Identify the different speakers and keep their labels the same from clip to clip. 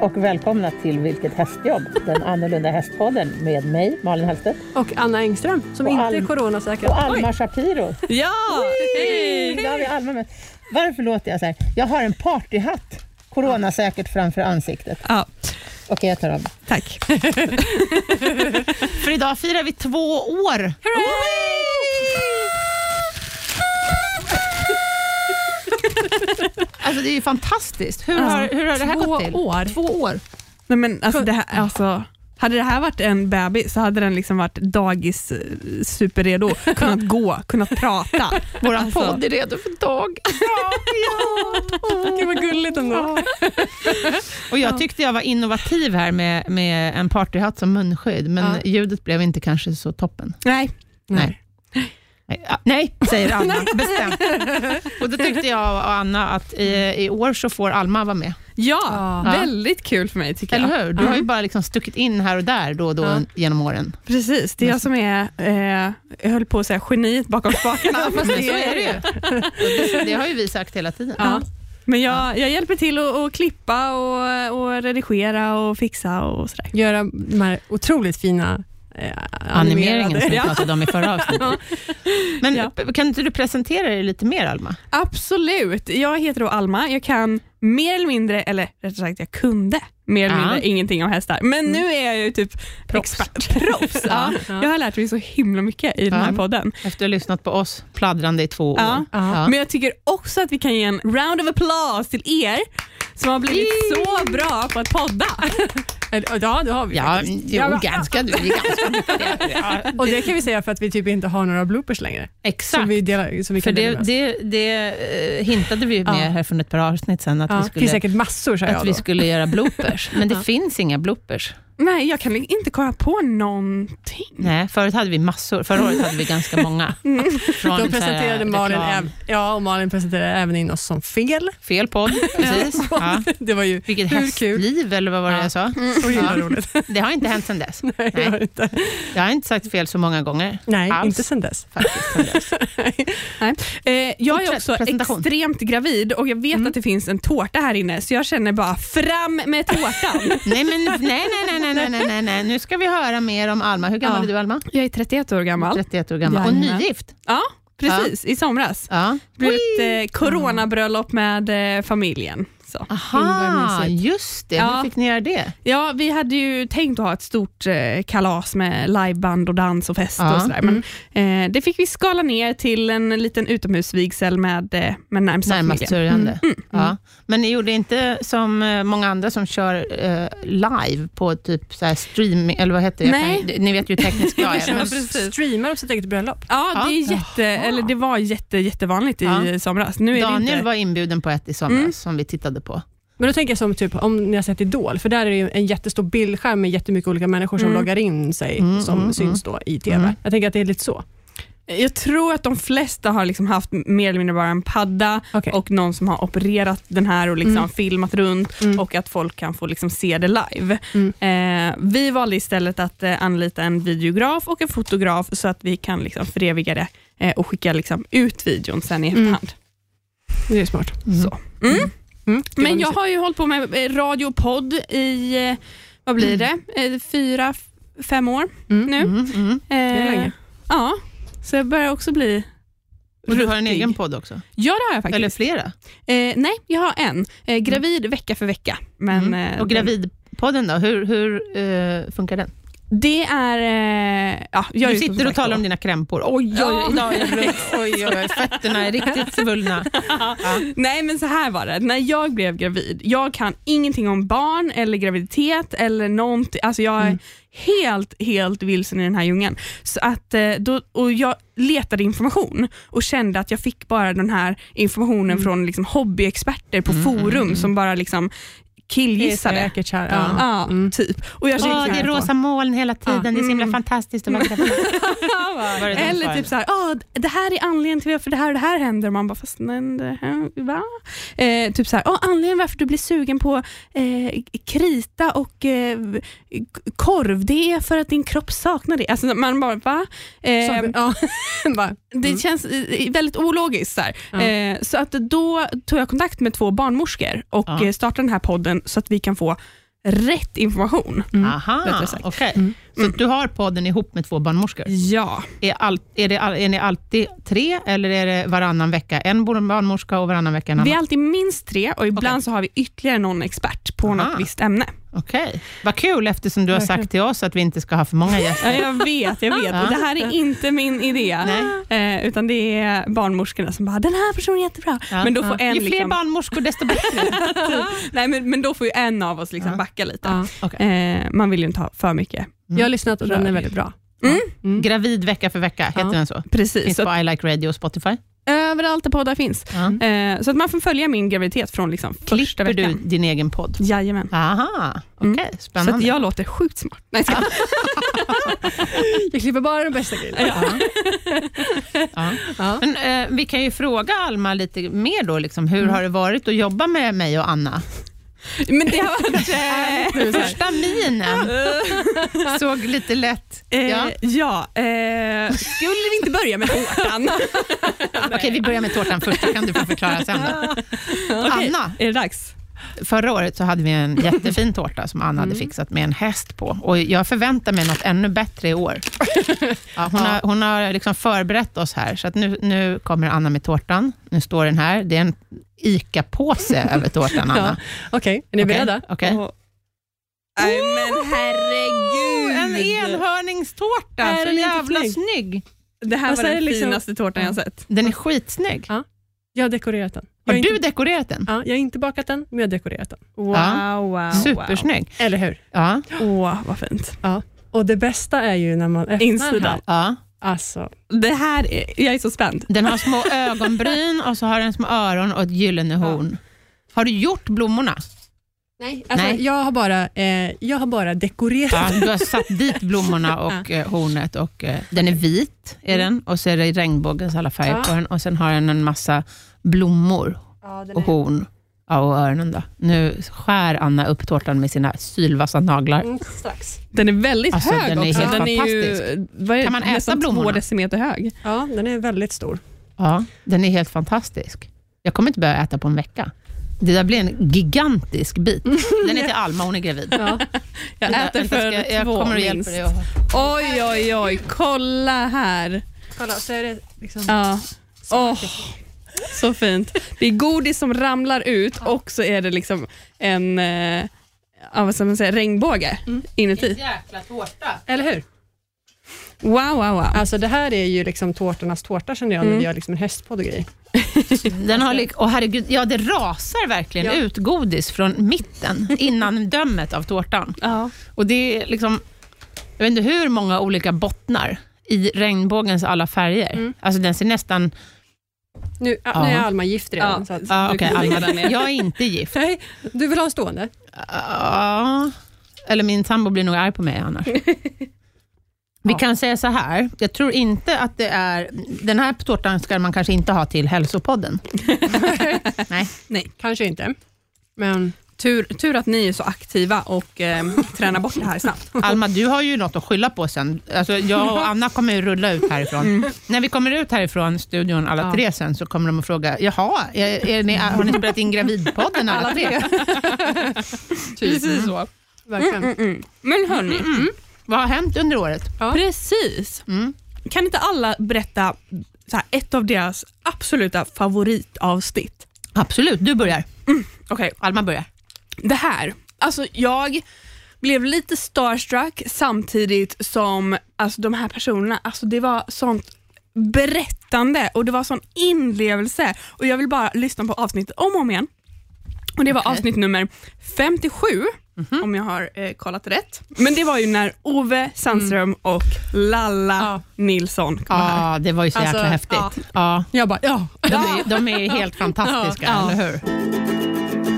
Speaker 1: och välkomna till Vilket hästjobb? Den annorlunda hästpodden med mig, Malin Hellstedt.
Speaker 2: Och Anna Engström som
Speaker 1: Och
Speaker 2: inte
Speaker 1: Alm-
Speaker 2: är coronasäker.
Speaker 1: Och Alma
Speaker 2: Oj.
Speaker 1: Shapiro.
Speaker 2: Ja!
Speaker 1: Idag
Speaker 2: Hej!
Speaker 1: har vi Alma med. Varför låter jag så här? Jag har en partyhatt, coronasäkert framför ansiktet.
Speaker 3: Ja,
Speaker 1: Okej, jag tar av mig.
Speaker 3: tack.
Speaker 1: För idag firar vi två år. Alltså det är ju fantastiskt. Hur,
Speaker 3: Ja.
Speaker 1: har, hur har det här
Speaker 2: Två
Speaker 1: gått till?
Speaker 2: år.
Speaker 1: Två år.
Speaker 3: Nej, men alltså, det här, alltså, hade det här varit en bebis så hade den liksom varit dagis eh, superredo, kunnat gå, kunnat prata.
Speaker 1: Vår
Speaker 3: Alltså.
Speaker 1: podd är redo för dag.
Speaker 2: Gud vad gulligt ändå.
Speaker 4: Och jag tyckte jag var innovativ här med, med en partyhatt som munskydd, men
Speaker 2: Ja.
Speaker 4: ljudet blev inte kanske så toppen.
Speaker 3: Nej,
Speaker 4: Nej. Nej, ah, nej säger Alma bestämt. Och då tyckte jag och Anna att i, i år så får Alma vara med.
Speaker 3: Ja,
Speaker 2: Ja.
Speaker 3: väldigt kul för mig tycker jag.
Speaker 4: Eller hur? Du har ju bara liksom stuckit in här och där då och då
Speaker 2: Ja.
Speaker 4: genom åren.
Speaker 3: Precis, det är jag som är, eh, jag höll på att säga geniet bakom spakarna.
Speaker 4: Men
Speaker 3: fast
Speaker 4: så
Speaker 3: det är-
Speaker 4: är det ju. Det, det har ju vi sagt hela tiden.
Speaker 3: Ja. Men jag, jag hjälper till att att klippa och, och redigera och fixa och sådär.
Speaker 2: Göra de här otroligt fina eh,
Speaker 4: Animeringen som
Speaker 2: animerade-
Speaker 4: vi
Speaker 2: Ja.
Speaker 4: pratade om i förra avsnittet. Men
Speaker 3: Ja.
Speaker 4: kan inte du presentera dig lite mer Alma?
Speaker 3: Absolut. Jag heter då Alma. Jag kan mer eller mindre, eller rättare sagt jag kunde mer eller
Speaker 4: Ja.
Speaker 3: mindre ingenting om hästar. Men nu är jag ju typ
Speaker 4: Proffs.
Speaker 3: expert- Proffs, ja. Jag har lärt mig så himla mycket i den här
Speaker 4: Ja.
Speaker 3: podden.
Speaker 4: Efter att ha lyssnat på oss pladdrande i två år.
Speaker 3: Ja.
Speaker 4: Ja.
Speaker 3: Men jag tycker också att vi kan ge en round of applause till er som har blivit så bra på att podda.
Speaker 2: Eller, Ja, det har vi
Speaker 4: Ja,
Speaker 2: faktiskt.
Speaker 4: jo, ganska, du är ganska duktig. Ja,
Speaker 2: Och det kan vi säga för att vi typ inte har några bloopers längre. Som
Speaker 4: exakt.
Speaker 2: vi delar, som vi
Speaker 4: För
Speaker 2: kan
Speaker 4: det,
Speaker 2: dela med oss.
Speaker 4: det, det eh, hintade vi med
Speaker 2: Ja.
Speaker 4: här för ett par avsnitt sedan, att,
Speaker 2: Ja,
Speaker 4: vi,
Speaker 2: Det finns
Speaker 4: skulle,
Speaker 2: säkert massor, sa jag
Speaker 4: att
Speaker 2: då.
Speaker 4: vi skulle göra bloopers. Men det
Speaker 2: Ja.
Speaker 4: finns inga bloopers.
Speaker 3: Nej, jag kan inte komma på någonting.
Speaker 4: Nej, förut hade vi massor. Förra året hade vi ganska många. Från
Speaker 2: Då
Speaker 4: så här
Speaker 2: presenterade Malin, Ehm-
Speaker 4: reklam-
Speaker 2: äv- ja, och Malin presenterade även in oss som fel.
Speaker 4: Fel podd, precis. Ja.
Speaker 2: Det var ju
Speaker 4: Vilket
Speaker 2: Hur kul?
Speaker 4: hästliv, eller vad var det
Speaker 2: Ja. Mm.
Speaker 4: jag sa?
Speaker 2: så himla
Speaker 4: Ja.
Speaker 2: roligt.
Speaker 4: Det har inte hänt sedan dess.
Speaker 2: Nej, det var det inte.
Speaker 4: Jag har inte sagt fel så många gånger.
Speaker 2: Nej
Speaker 4: Alls.
Speaker 2: inte sen dess.
Speaker 4: Faktiskt, sedan dess.
Speaker 3: Eh, jag är
Speaker 4: Fortsätt,
Speaker 3: också
Speaker 4: presentation. Mm.
Speaker 3: extremt gravid och jag vet att det finns en tårta här inne så jag känner bara fram med tårtan.
Speaker 4: Nej, men nej, nej, nej, nej, nej, nej, nej, nej. Nu ska vi höra mer om Alma. Hur gammal
Speaker 3: Ja.
Speaker 4: är du, Alma?
Speaker 3: jag är 31 år gammal.
Speaker 4: 31 år gammal. Och
Speaker 3: Jajamän.
Speaker 4: nygift.
Speaker 3: Ja, precis. I somras.
Speaker 4: Ja.
Speaker 3: Det blev ett eh, coronabröllop med eh, familjen. Så.
Speaker 2: Himla
Speaker 4: Aha,
Speaker 2: mysigt.
Speaker 4: just det.
Speaker 3: Ja.
Speaker 4: Hur fick ni göra det?
Speaker 3: Ja, vi hade ju tänkt att ha ett stort eh, kalas med liveband och dans och fest
Speaker 4: Ja. Mm.
Speaker 3: och sådär. Men eh, det fick vi skala ner till en liten utomhusvigsel med, eh, med närmsta
Speaker 4: Närmast
Speaker 3: familjen. Mm,
Speaker 4: sörjande. Ja. Men ni gjorde inte som eh, många andra som kör eh, live på typ så här streaming, eller vad heter det? Jag
Speaker 3: Nej.
Speaker 4: Kan, ni vet ju hur teknisk jag är. Men,
Speaker 2: Streamar upp sitt eget bröllop.
Speaker 3: Ja,
Speaker 4: Ja.
Speaker 3: det, är jätte, eller det var jätte, jättevanligt i
Speaker 4: Ja.
Speaker 3: somras. Nu är det
Speaker 4: Daniel
Speaker 3: inte. Mm.
Speaker 4: var inbjuden på ett i somras som vi tittade på.
Speaker 2: Men då tänker jag som typ, om ni har sett Idol, för där är det ju en jättestor bildskärm med jättemycket olika människor som
Speaker 3: Mm.
Speaker 2: loggar in sig,
Speaker 4: Mm,
Speaker 2: som
Speaker 4: mm,
Speaker 2: syns då i TV.
Speaker 4: Mm.
Speaker 2: Jag tänker att det är lite så.
Speaker 3: Jag tror att de flesta har liksom haft mer eller mindre bara en padda
Speaker 2: Okej.
Speaker 3: och någon som har opererat den här och liksom
Speaker 2: Mm.
Speaker 3: filmat runt
Speaker 2: Mm.
Speaker 3: och att folk kan få liksom se det live.
Speaker 2: Mm.
Speaker 3: Eh, vi valde istället att eh, anlita en videograf och en fotograf så att vi kan liksom föreviga det eh, och skicka liksom ut videon sen i
Speaker 2: Mm.
Speaker 3: efterhand.
Speaker 2: Det är smart.
Speaker 4: Mm.
Speaker 3: Så.
Speaker 2: Mm. Det var
Speaker 3: Men jag
Speaker 2: mysigt.
Speaker 3: har ju hållit på med eh, radio och podd i, eh, vad blir det, eh, fyra, f- fem år
Speaker 2: Mm.
Speaker 3: nu.
Speaker 4: Mm, mm.
Speaker 2: är
Speaker 3: Eh,
Speaker 2: länge.
Speaker 3: ja, så jag börjar också bli
Speaker 4: Och du har en
Speaker 3: ruttig.
Speaker 4: egen podd också?
Speaker 3: Ja, det har jag faktiskt.
Speaker 4: Eller flera?
Speaker 3: Eh, nej, jag har en. Eh, gravid vecka för vecka. Men,
Speaker 4: Mm.
Speaker 3: eh,
Speaker 4: Och gravidpodden då, hur, hur eh, funkar den?
Speaker 3: Det är... Eh, ja, jag är
Speaker 4: du
Speaker 3: ju som
Speaker 4: sitter och
Speaker 3: sagt
Speaker 4: talar
Speaker 3: då-
Speaker 4: om dina krämpor. Oj, oj, oj,
Speaker 3: Ja.
Speaker 4: idag är det blod. oj, oj, oj, fötterna är riktigt svullna.
Speaker 3: Nej men så här var det, när jag blev gravid, jag kan ingenting om barn eller graviditet eller någonting, alltså jag
Speaker 4: Mm.
Speaker 3: är helt, helt vilsen i den här djungeln. Så att, eh, då, och jag letade information och kände att jag fick bara den här informationen
Speaker 4: Mm.
Speaker 3: från liksom hobbyexperter på forum som bara liksom killgissade.
Speaker 2: Säkert kär.
Speaker 3: Ja,
Speaker 2: Ja. Mm.
Speaker 3: typ. Och jag
Speaker 4: Ja,
Speaker 3: kände så
Speaker 4: det
Speaker 3: här-
Speaker 4: är rosa moln hela tiden, det är så himla fantastiskt att vara gravid. Var det den
Speaker 3: Eller
Speaker 4: faren?
Speaker 3: typ såhär, ah, det här är anledningen till varför det här och det här händer. Och man bara, fast men det här, va? Eh, typ såhär, ah, anledningen varför du blir sugen på eh, krita och eh, korv, det är för att din kropp saknar det. Alltså man bara, va? Eh,
Speaker 2: Som- Ehm, ja. Bara,
Speaker 3: det
Speaker 2: Mm.
Speaker 3: känns eh, väldigt ologiskt. Så, här.
Speaker 2: Ja.
Speaker 3: Eh, så att då tog jag kontakt med två barnmorskor och
Speaker 4: Ja.
Speaker 3: eh, startade den här podden så att vi kan få rätt information.
Speaker 4: Aha,
Speaker 3: rättare Mm. sagt. Mm.
Speaker 4: okej. Så att du har podden ihop med två barnmorskor.
Speaker 3: Ja.
Speaker 4: Är, all, är, det, all- är ni alltid tre eller är det varannan vecka en barnmorska och varannan vecka en
Speaker 3: Vi är
Speaker 4: annan?
Speaker 3: alltid minst tre och ibland så har vi ytterligare någon expert på
Speaker 4: Aha.
Speaker 3: något visst ämne.
Speaker 4: Okej. Vad kul eftersom du har sagt till oss att vi inte ska ha för många gäster.
Speaker 3: Ja, jag vet, jag vet.
Speaker 4: Ja.
Speaker 3: Och Ah. det här är inte min idé. Eh, utan det är barnmorskorna som bara, den här personen är jättebra.
Speaker 4: Ja.
Speaker 3: Men, då får en
Speaker 4: Ju fler
Speaker 3: liksom,
Speaker 4: barnmorskor desto bättre.
Speaker 3: nej, men, men då får ju en av oss liksom
Speaker 4: Ja.
Speaker 3: backa lite.
Speaker 2: Ja.
Speaker 4: Ah. Okej.
Speaker 3: Eh, man vill ju inte ha för mycket.
Speaker 2: Jag har lyssnat och den är väldigt bra. Mm.
Speaker 4: Gravid vecka för vecka, heter
Speaker 2: Ja.
Speaker 4: den så?
Speaker 3: Precis,
Speaker 4: Finns
Speaker 3: så
Speaker 4: på
Speaker 3: att
Speaker 4: I Like Radio och Spotify.
Speaker 3: överallt där poddar finns.
Speaker 4: Ja.
Speaker 3: Eh, så att man får följa min graviditet från liksom första
Speaker 4: Klipper du
Speaker 3: veckan.
Speaker 4: din egen podd?
Speaker 3: Jajamän.
Speaker 4: Aha, okej.
Speaker 3: Mm. Så
Speaker 4: Spännande.
Speaker 3: att jag låter sjukt smart. Nej, jag skojar.
Speaker 2: Jag klipper bara de bästa grejerna.
Speaker 4: Ja.
Speaker 2: Ja.
Speaker 4: Men, eh, vi kan ju fråga Alma lite mer då, liksom, hur har det varit att jobba med mig och Anna?
Speaker 3: men det har varit... Eh,
Speaker 4: Första minen såg lite lätt...
Speaker 3: eh,
Speaker 4: Ja.
Speaker 3: ja, eh, skulle vi inte börja med tårtan?
Speaker 4: Okej, vi börjar med tårtan först, så kan du få förklara sen. Då. Anna,
Speaker 3: Är det dags?
Speaker 4: förra året så hade vi en jättefin tårta som Anna hade fixat med en häst på. Och jag förväntar mig något ännu bättre i år. Ja, hon, Har, hon har liksom förberett oss här, så att nu, nu kommer Anna med tårtan. Nu står den här. Det är en ICA-påse över tårtan, Anna.
Speaker 2: Okej, är ni
Speaker 4: Okej,
Speaker 2: beredda?
Speaker 4: okej.
Speaker 3: Och- Nej men herregud.
Speaker 4: En enhörningstårta,
Speaker 2: Är
Speaker 4: så
Speaker 2: den inte
Speaker 4: jävla
Speaker 2: snygg?
Speaker 4: snygg.
Speaker 3: Det här
Speaker 2: Alltså,
Speaker 3: var
Speaker 2: är
Speaker 3: den
Speaker 2: det liksom-
Speaker 3: finaste tårtan jag har sett.
Speaker 4: Den är skitsnygg.
Speaker 2: Jag har dekorerat den.
Speaker 4: Har
Speaker 2: Jag
Speaker 4: du
Speaker 2: inte,
Speaker 4: dekorerat den?
Speaker 2: ja, jag har inte bakat den, men jag har dekorerat den.
Speaker 3: Wow,
Speaker 4: Ja.
Speaker 3: Ah, wow,
Speaker 4: Supersnygg.
Speaker 2: Eller hur?
Speaker 4: Ja.
Speaker 3: wow. Åh, vad fint.
Speaker 2: Och det bästa är ju när man öppnar den
Speaker 3: Insidan.
Speaker 2: här.
Speaker 4: Ja.
Speaker 2: Alltså,
Speaker 3: Det här är, jag är så spänd.
Speaker 4: Den har små ögonbryn och så har den små öron och ett gyllene horn. Har du gjort blommorna?
Speaker 2: nej, alltså
Speaker 4: Nej. Ah.
Speaker 2: Jag, har bara, eh, jag har bara dekorerat
Speaker 4: Ja, Alltså, du har satt dit blommorna och eh, hornet. Och, eh, den är vit, är
Speaker 3: Mm.
Speaker 4: den, och så är det regnbågens alla färger
Speaker 2: Ja.
Speaker 4: på den. Och sen har den en massa blommor och horn. Ja, och öronen då. Nu skär Anna upp tårtan med sina sylvassa naglar.
Speaker 2: Mm, strax.
Speaker 3: Den är väldigt
Speaker 4: Alltså,
Speaker 3: hög
Speaker 4: den är
Speaker 3: också.
Speaker 4: helt
Speaker 3: den är ju,
Speaker 4: fantastisk.
Speaker 3: vad är,
Speaker 4: Kan man äta
Speaker 3: nästan två
Speaker 4: blommorna?
Speaker 3: decimeter hög.
Speaker 2: Ja, den är väldigt stor.
Speaker 4: Ja, den är helt fantastisk. Jag kommer inte börja äta på en vecka. Det där blir en gigantisk bit. Den är till Alma, hon är gravid.
Speaker 2: Ja.
Speaker 3: Jag
Speaker 4: Vänta,
Speaker 3: äter
Speaker 4: vänta,
Speaker 3: för
Speaker 4: ska- jag
Speaker 3: två
Speaker 4: kommer att hjälpa
Speaker 3: minst.
Speaker 4: dig. att-
Speaker 3: Oj, oj, oj. Kolla här.
Speaker 2: Kolla, så är det liksom...
Speaker 3: Ja. Åh, så fint. Det är godis som ramlar ut och så är det liksom en eh, ja, vad ska man säga, regnbåge
Speaker 4: Mm. Typ.
Speaker 3: inuti.
Speaker 4: Jäkla tårta.
Speaker 2: Eller hur?
Speaker 3: Wow, wow, wow.
Speaker 2: Alltså det här är ju liksom tårtornas tårta känner
Speaker 4: Mm.
Speaker 2: jag, när vi gör liksom en hästpodd och grejer.
Speaker 4: Den har lik- och herregud, ja, det rasar verkligen
Speaker 2: Ja.
Speaker 4: ut godis från mitten, innan dömet av tårtan.
Speaker 3: Ja.
Speaker 4: Och det är liksom, jag vet inte hur många olika bottnar i regnbågens alla färger. Alltså den ser nästan...
Speaker 2: Nu,
Speaker 4: Ja.
Speaker 2: nu är Alma gift redan.
Speaker 3: Ja.
Speaker 2: Så att,
Speaker 4: Ja,
Speaker 3: Du
Speaker 4: okej,
Speaker 3: kan lägga
Speaker 4: Alma,
Speaker 3: den ner.
Speaker 4: jag är inte gift.
Speaker 2: nej, du vill ha en stående?
Speaker 4: Ja, eller min sambo blir nog arg på mig annars. Vi kan säga så här, jag tror inte att det är... Den här tårtan ska man kanske inte ha till hälsopodden. Nej.
Speaker 2: Kanske inte. Men
Speaker 3: Tur, tur att ni är så aktiva och eh, tränar bort det här snabbt.
Speaker 4: Alma, du har ju något att skylla på sen. Alltså, jag och Anna kommer ju rulla ut härifrån.
Speaker 2: Mm.
Speaker 4: När vi kommer ut härifrån studion alla tre sen så kommer de att fråga, jaha, är, är ni, har ni spelat in Gravidpodden alla tre?
Speaker 3: Precis så.
Speaker 2: verkligen.
Speaker 3: Mm, Men hörni,
Speaker 4: Vad har hänt under året?
Speaker 3: precis.
Speaker 4: Mm.
Speaker 3: Kan inte alla berätta så här, ett av deras absoluta favoritavsnitt?
Speaker 4: Absolut, du börjar.
Speaker 3: Okej,
Speaker 4: Alma börjar.
Speaker 3: det här. Alltså jag blev lite starstruck samtidigt som alltså, de här personerna, alltså, det var sånt berättande och det var sån inlevelse och jag vill bara lyssna på avsnittet om och om igen. Och Det var avsnitt nummer 57,
Speaker 4: Mhm.
Speaker 3: om jag har eh, kollat rätt. Men det var ju när Ove Sandström och Lalla Nilsson kom här.
Speaker 4: Mm. Ja, det var ju så jäkla
Speaker 2: Alltså,
Speaker 4: häftigt. Ja.
Speaker 2: Jag bara, ja.
Speaker 4: De, är, de är helt fantastiska,
Speaker 3: Ja.
Speaker 4: eller hur?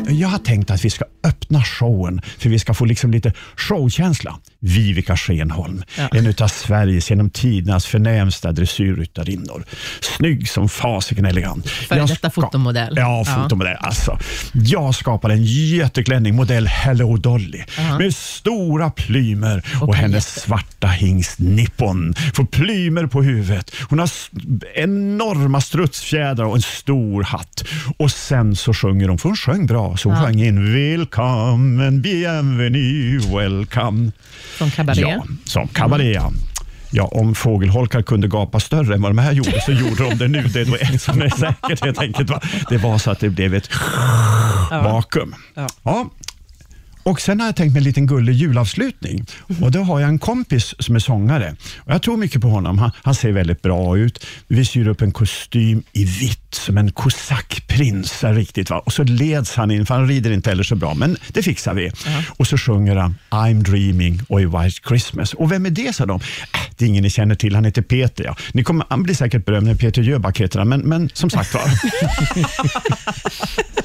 Speaker 5: Jag har tänkt att vi ska öppna showen för vi ska få liksom lite showkänsla. Vivica Schenholm, en utav Sveriges genom tidernas förnämsta dressyrryttarinnor. Snygg som fasiken elegant.
Speaker 4: Före
Speaker 5: Jag
Speaker 4: detta
Speaker 5: ska-
Speaker 4: fotomodell.
Speaker 5: Ja,
Speaker 4: Ja.
Speaker 5: fotomodell. Alltså, jag skapade en jätteklänning, modell Hello Dolly, med stora plymer och, hennes svarta hingst Nippon får plymer på huvudet. Hon har s- enorma strutsfjädrar och en stor hatt. Och sen så sjunger hon, för hon sjöng bra, Så hon sjöng in Willkommen, bienvenue, welcome.
Speaker 4: Från Cabaret.
Speaker 5: Ja, som kabaré. ja. Ja, om fågelholkar kunde gapa större än vad de här gjorde så gjorde de det nu. Det är då ett som är säkert helt enkelt. Va? Det var så att det blev ett vakuum.
Speaker 4: Ja.
Speaker 5: Ja. Och Sen har jag tänkt mig en liten gullig julavslutning.
Speaker 4: Mhm.
Speaker 5: Och Då har jag en kompis som är sångare. Och Jag tror mycket på honom. Han, han ser väldigt bra ut. Vi syr upp en kostym i vitt, som en kosackprins. där Riktigt, va? Och så leds han in, för han rider inte heller så bra, men det fixar vi. Och så sjunger han I'm dreaming och I White Christmas. Och Vem är det, sa de. Äh, det är ingen ni känner till, han heter Peter. Ja. Ni kommer, han blir säkert berömd när Peter Jöback heter han, men, men som sagt var.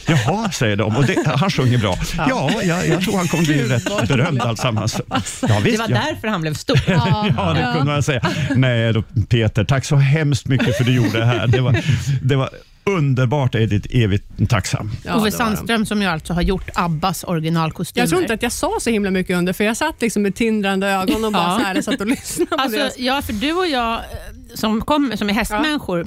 Speaker 5: Jaha, säger de. Och det, han sjunger bra. Ja, jag, jag tror han kommer bli rätt berömd alltsammans. Ja,
Speaker 4: Det
Speaker 5: visst,
Speaker 4: var
Speaker 5: ja.
Speaker 4: därför han blev stor.
Speaker 5: Ja, det kunde man säga. Nej, då, Peter, tack så hemskt mycket för du gjorde det här. Det var, det var underbart, jag är ditt evigt tacksam.
Speaker 2: Ja, det var
Speaker 4: Ove
Speaker 2: de.
Speaker 4: Sandström som ju alltså har gjort Abbas originalkostymer.
Speaker 2: Jag tror inte att jag sa så himla mycket under, för jag satt liksom med tindrande ögon och bara
Speaker 4: Ja.
Speaker 2: så här, satt och lyssnade på
Speaker 4: Alltså,
Speaker 2: deras...
Speaker 4: ja, för du och jag eh, som, kom, som är hästmänniskor,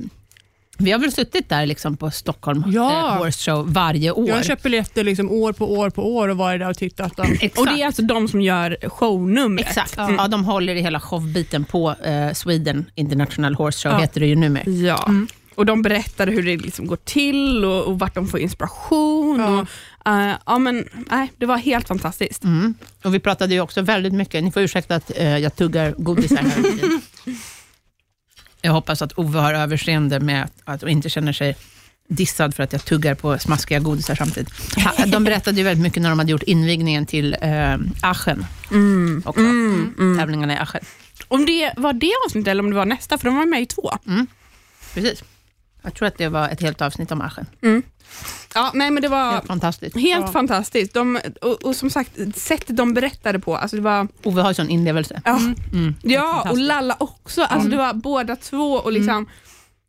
Speaker 4: vi har väl suttit där liksom på Stockholm
Speaker 2: Ja.
Speaker 4: eh, Horse Show varje år.
Speaker 2: Jag köper biljetter liksom år på år på år och varit där och tittat. Och...
Speaker 4: Exakt.
Speaker 3: Och det är alltså de som gör shownumret.
Speaker 4: Exakt.
Speaker 3: Mm.
Speaker 4: Ja, de håller i hela showbiten på eh, Sweden International Horse Show,
Speaker 2: Ja.
Speaker 4: heter det ju numera.
Speaker 3: Ja.
Speaker 4: Mm.
Speaker 3: Och de berättade hur det liksom går till och, och vart de får inspiration.
Speaker 2: Ja.
Speaker 3: Och, eh, ja, men, nej, det var helt fantastiskt.
Speaker 4: Mm. Och vi pratade ju också väldigt mycket, ni får ursäkta att eh, jag tuggar godisar här. hela tiden. jag hoppas att Ove har överseende med att, att och inte känner sig dissad för att jag tuggar på smaskiga godisar samtidigt. Ha- De berättade ju väldigt mycket när de hade gjort invigningen till eh, Aachen, också. tävlingarna i Aachen.
Speaker 3: Mm. Om det var det avsnittet eller om det var nästa, för de var med i två.
Speaker 4: Mm. Precis. Jag tror att det var ett helt avsnitt om Aachen.
Speaker 3: Ja, nej, men det var
Speaker 4: Helt fantastiskt.
Speaker 3: helt fantastiskt. De, och, och som sagt, sättet de berättade på, alltså det var...
Speaker 4: Ove har ju sån inlevelse.
Speaker 3: Ja,
Speaker 4: Mm.
Speaker 3: ja och
Speaker 4: fantastiskt. Mm.
Speaker 3: Lalla också. Alltså det var båda två och liksom...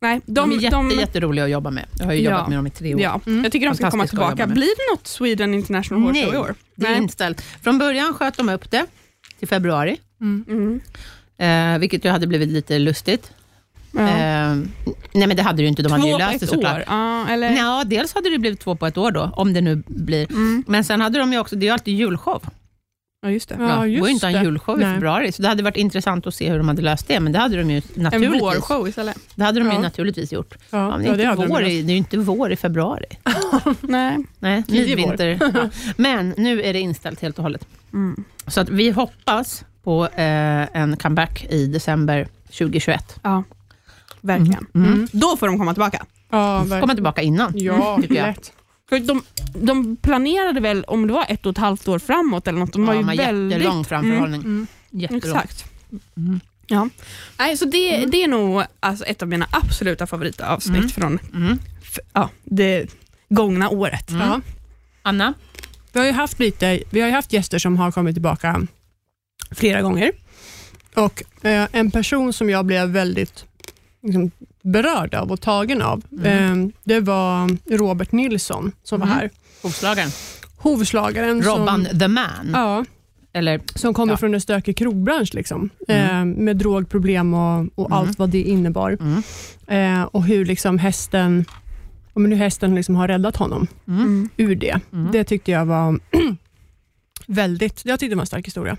Speaker 3: Nej,
Speaker 4: De är
Speaker 3: de,
Speaker 4: jätte,
Speaker 3: de,
Speaker 4: jätteroliga att jobba med. Jag har ju
Speaker 3: Ja.
Speaker 4: jobbat med dem i tre år.
Speaker 3: ja, Jag tycker de ska komma
Speaker 4: Fantastiska att jobba
Speaker 3: tillbaka.
Speaker 4: med.
Speaker 3: Blir det något Sweden International Horse Show i år?
Speaker 4: det är inställt. Från början sköt de upp det till februari,
Speaker 3: Mm.
Speaker 4: eh, vilket ju hade blivit lite lustigt.
Speaker 3: Ja.
Speaker 4: Eh, nej, men det hade det ju inte. De hade ju
Speaker 3: Två på
Speaker 4: löst det
Speaker 3: ett
Speaker 4: såklart.
Speaker 3: år? Ja, eller?
Speaker 4: Ja, dels hade det blivit två på ett år då, om det nu blir. Men sen hade de ju också, det är ju alltid julshow.
Speaker 3: Mm. Ja, just det.
Speaker 2: Ja,
Speaker 4: det går ju
Speaker 2: just
Speaker 4: inte att ha
Speaker 2: det.
Speaker 4: en julshow i
Speaker 2: Nej.
Speaker 4: februari, så det hade varit intressant att se hur de hade löst det, men det hade de ju
Speaker 3: En
Speaker 4: naturligtvis,
Speaker 3: vårshow istället.
Speaker 4: det hade de ju
Speaker 2: Ja.
Speaker 4: naturligtvis gjort. Ja,
Speaker 2: Ja,
Speaker 4: men det,
Speaker 2: ja,
Speaker 4: är
Speaker 2: hade
Speaker 4: inte
Speaker 2: de
Speaker 4: vår,
Speaker 2: velat.
Speaker 4: i- det är ju inte vår i februari.
Speaker 3: Nej.
Speaker 4: Nej,
Speaker 2: Tidig
Speaker 4: midvinter. Ja. Men nu är det inställt helt och hållet.
Speaker 3: Mm.
Speaker 4: Så att vi hoppas på eh, en comeback i december 2021.
Speaker 3: Ja. Verkligen.
Speaker 4: Mm.
Speaker 3: Då får de komma tillbaka.
Speaker 2: Mm. Ja,
Speaker 4: Komma
Speaker 2: verkligen.
Speaker 4: tillbaka innan.
Speaker 2: Ja,
Speaker 4: tycker jag.
Speaker 2: lätt.
Speaker 3: För De, de planerade väl om det var ett och ett halvt år framåt eller något. De var
Speaker 4: ja,
Speaker 3: ju
Speaker 4: man har
Speaker 3: väldigt...
Speaker 4: jättelång framförhållning.
Speaker 2: Mm,
Speaker 4: Jättelång. Mm.
Speaker 3: Exakt. Ja. Nej, så det, det är nog alltså, ett av mina absoluta favoritavsnitt från
Speaker 4: Mm.
Speaker 3: f- ja, det gångna året.
Speaker 2: Ja.
Speaker 4: Anna?
Speaker 2: Vi har ju haft lite, vi har ju haft gäster som har kommit tillbaka flera gånger. Och eh, en person som jag blev väldigt liksom, berörd av och tagen av,
Speaker 4: Mm.
Speaker 2: eh, det var Robert Nilsson som var här.
Speaker 4: Hovslagaren.
Speaker 2: Hovslagaren
Speaker 4: Mm. Robban
Speaker 2: som,
Speaker 4: the man.
Speaker 2: ja,
Speaker 4: Eller,
Speaker 2: som kommer
Speaker 4: Ja.
Speaker 2: från en stökig krogbransch liksom, eh, med drogproblem och, och allt vad det innebar.
Speaker 4: Mm.
Speaker 2: Eh, och hur liksom hästen ja, men hur hästen liksom har räddat honom
Speaker 3: Mm.
Speaker 2: ur det. Det tyckte jag var väldigt, jag tyckte det var en stark historia.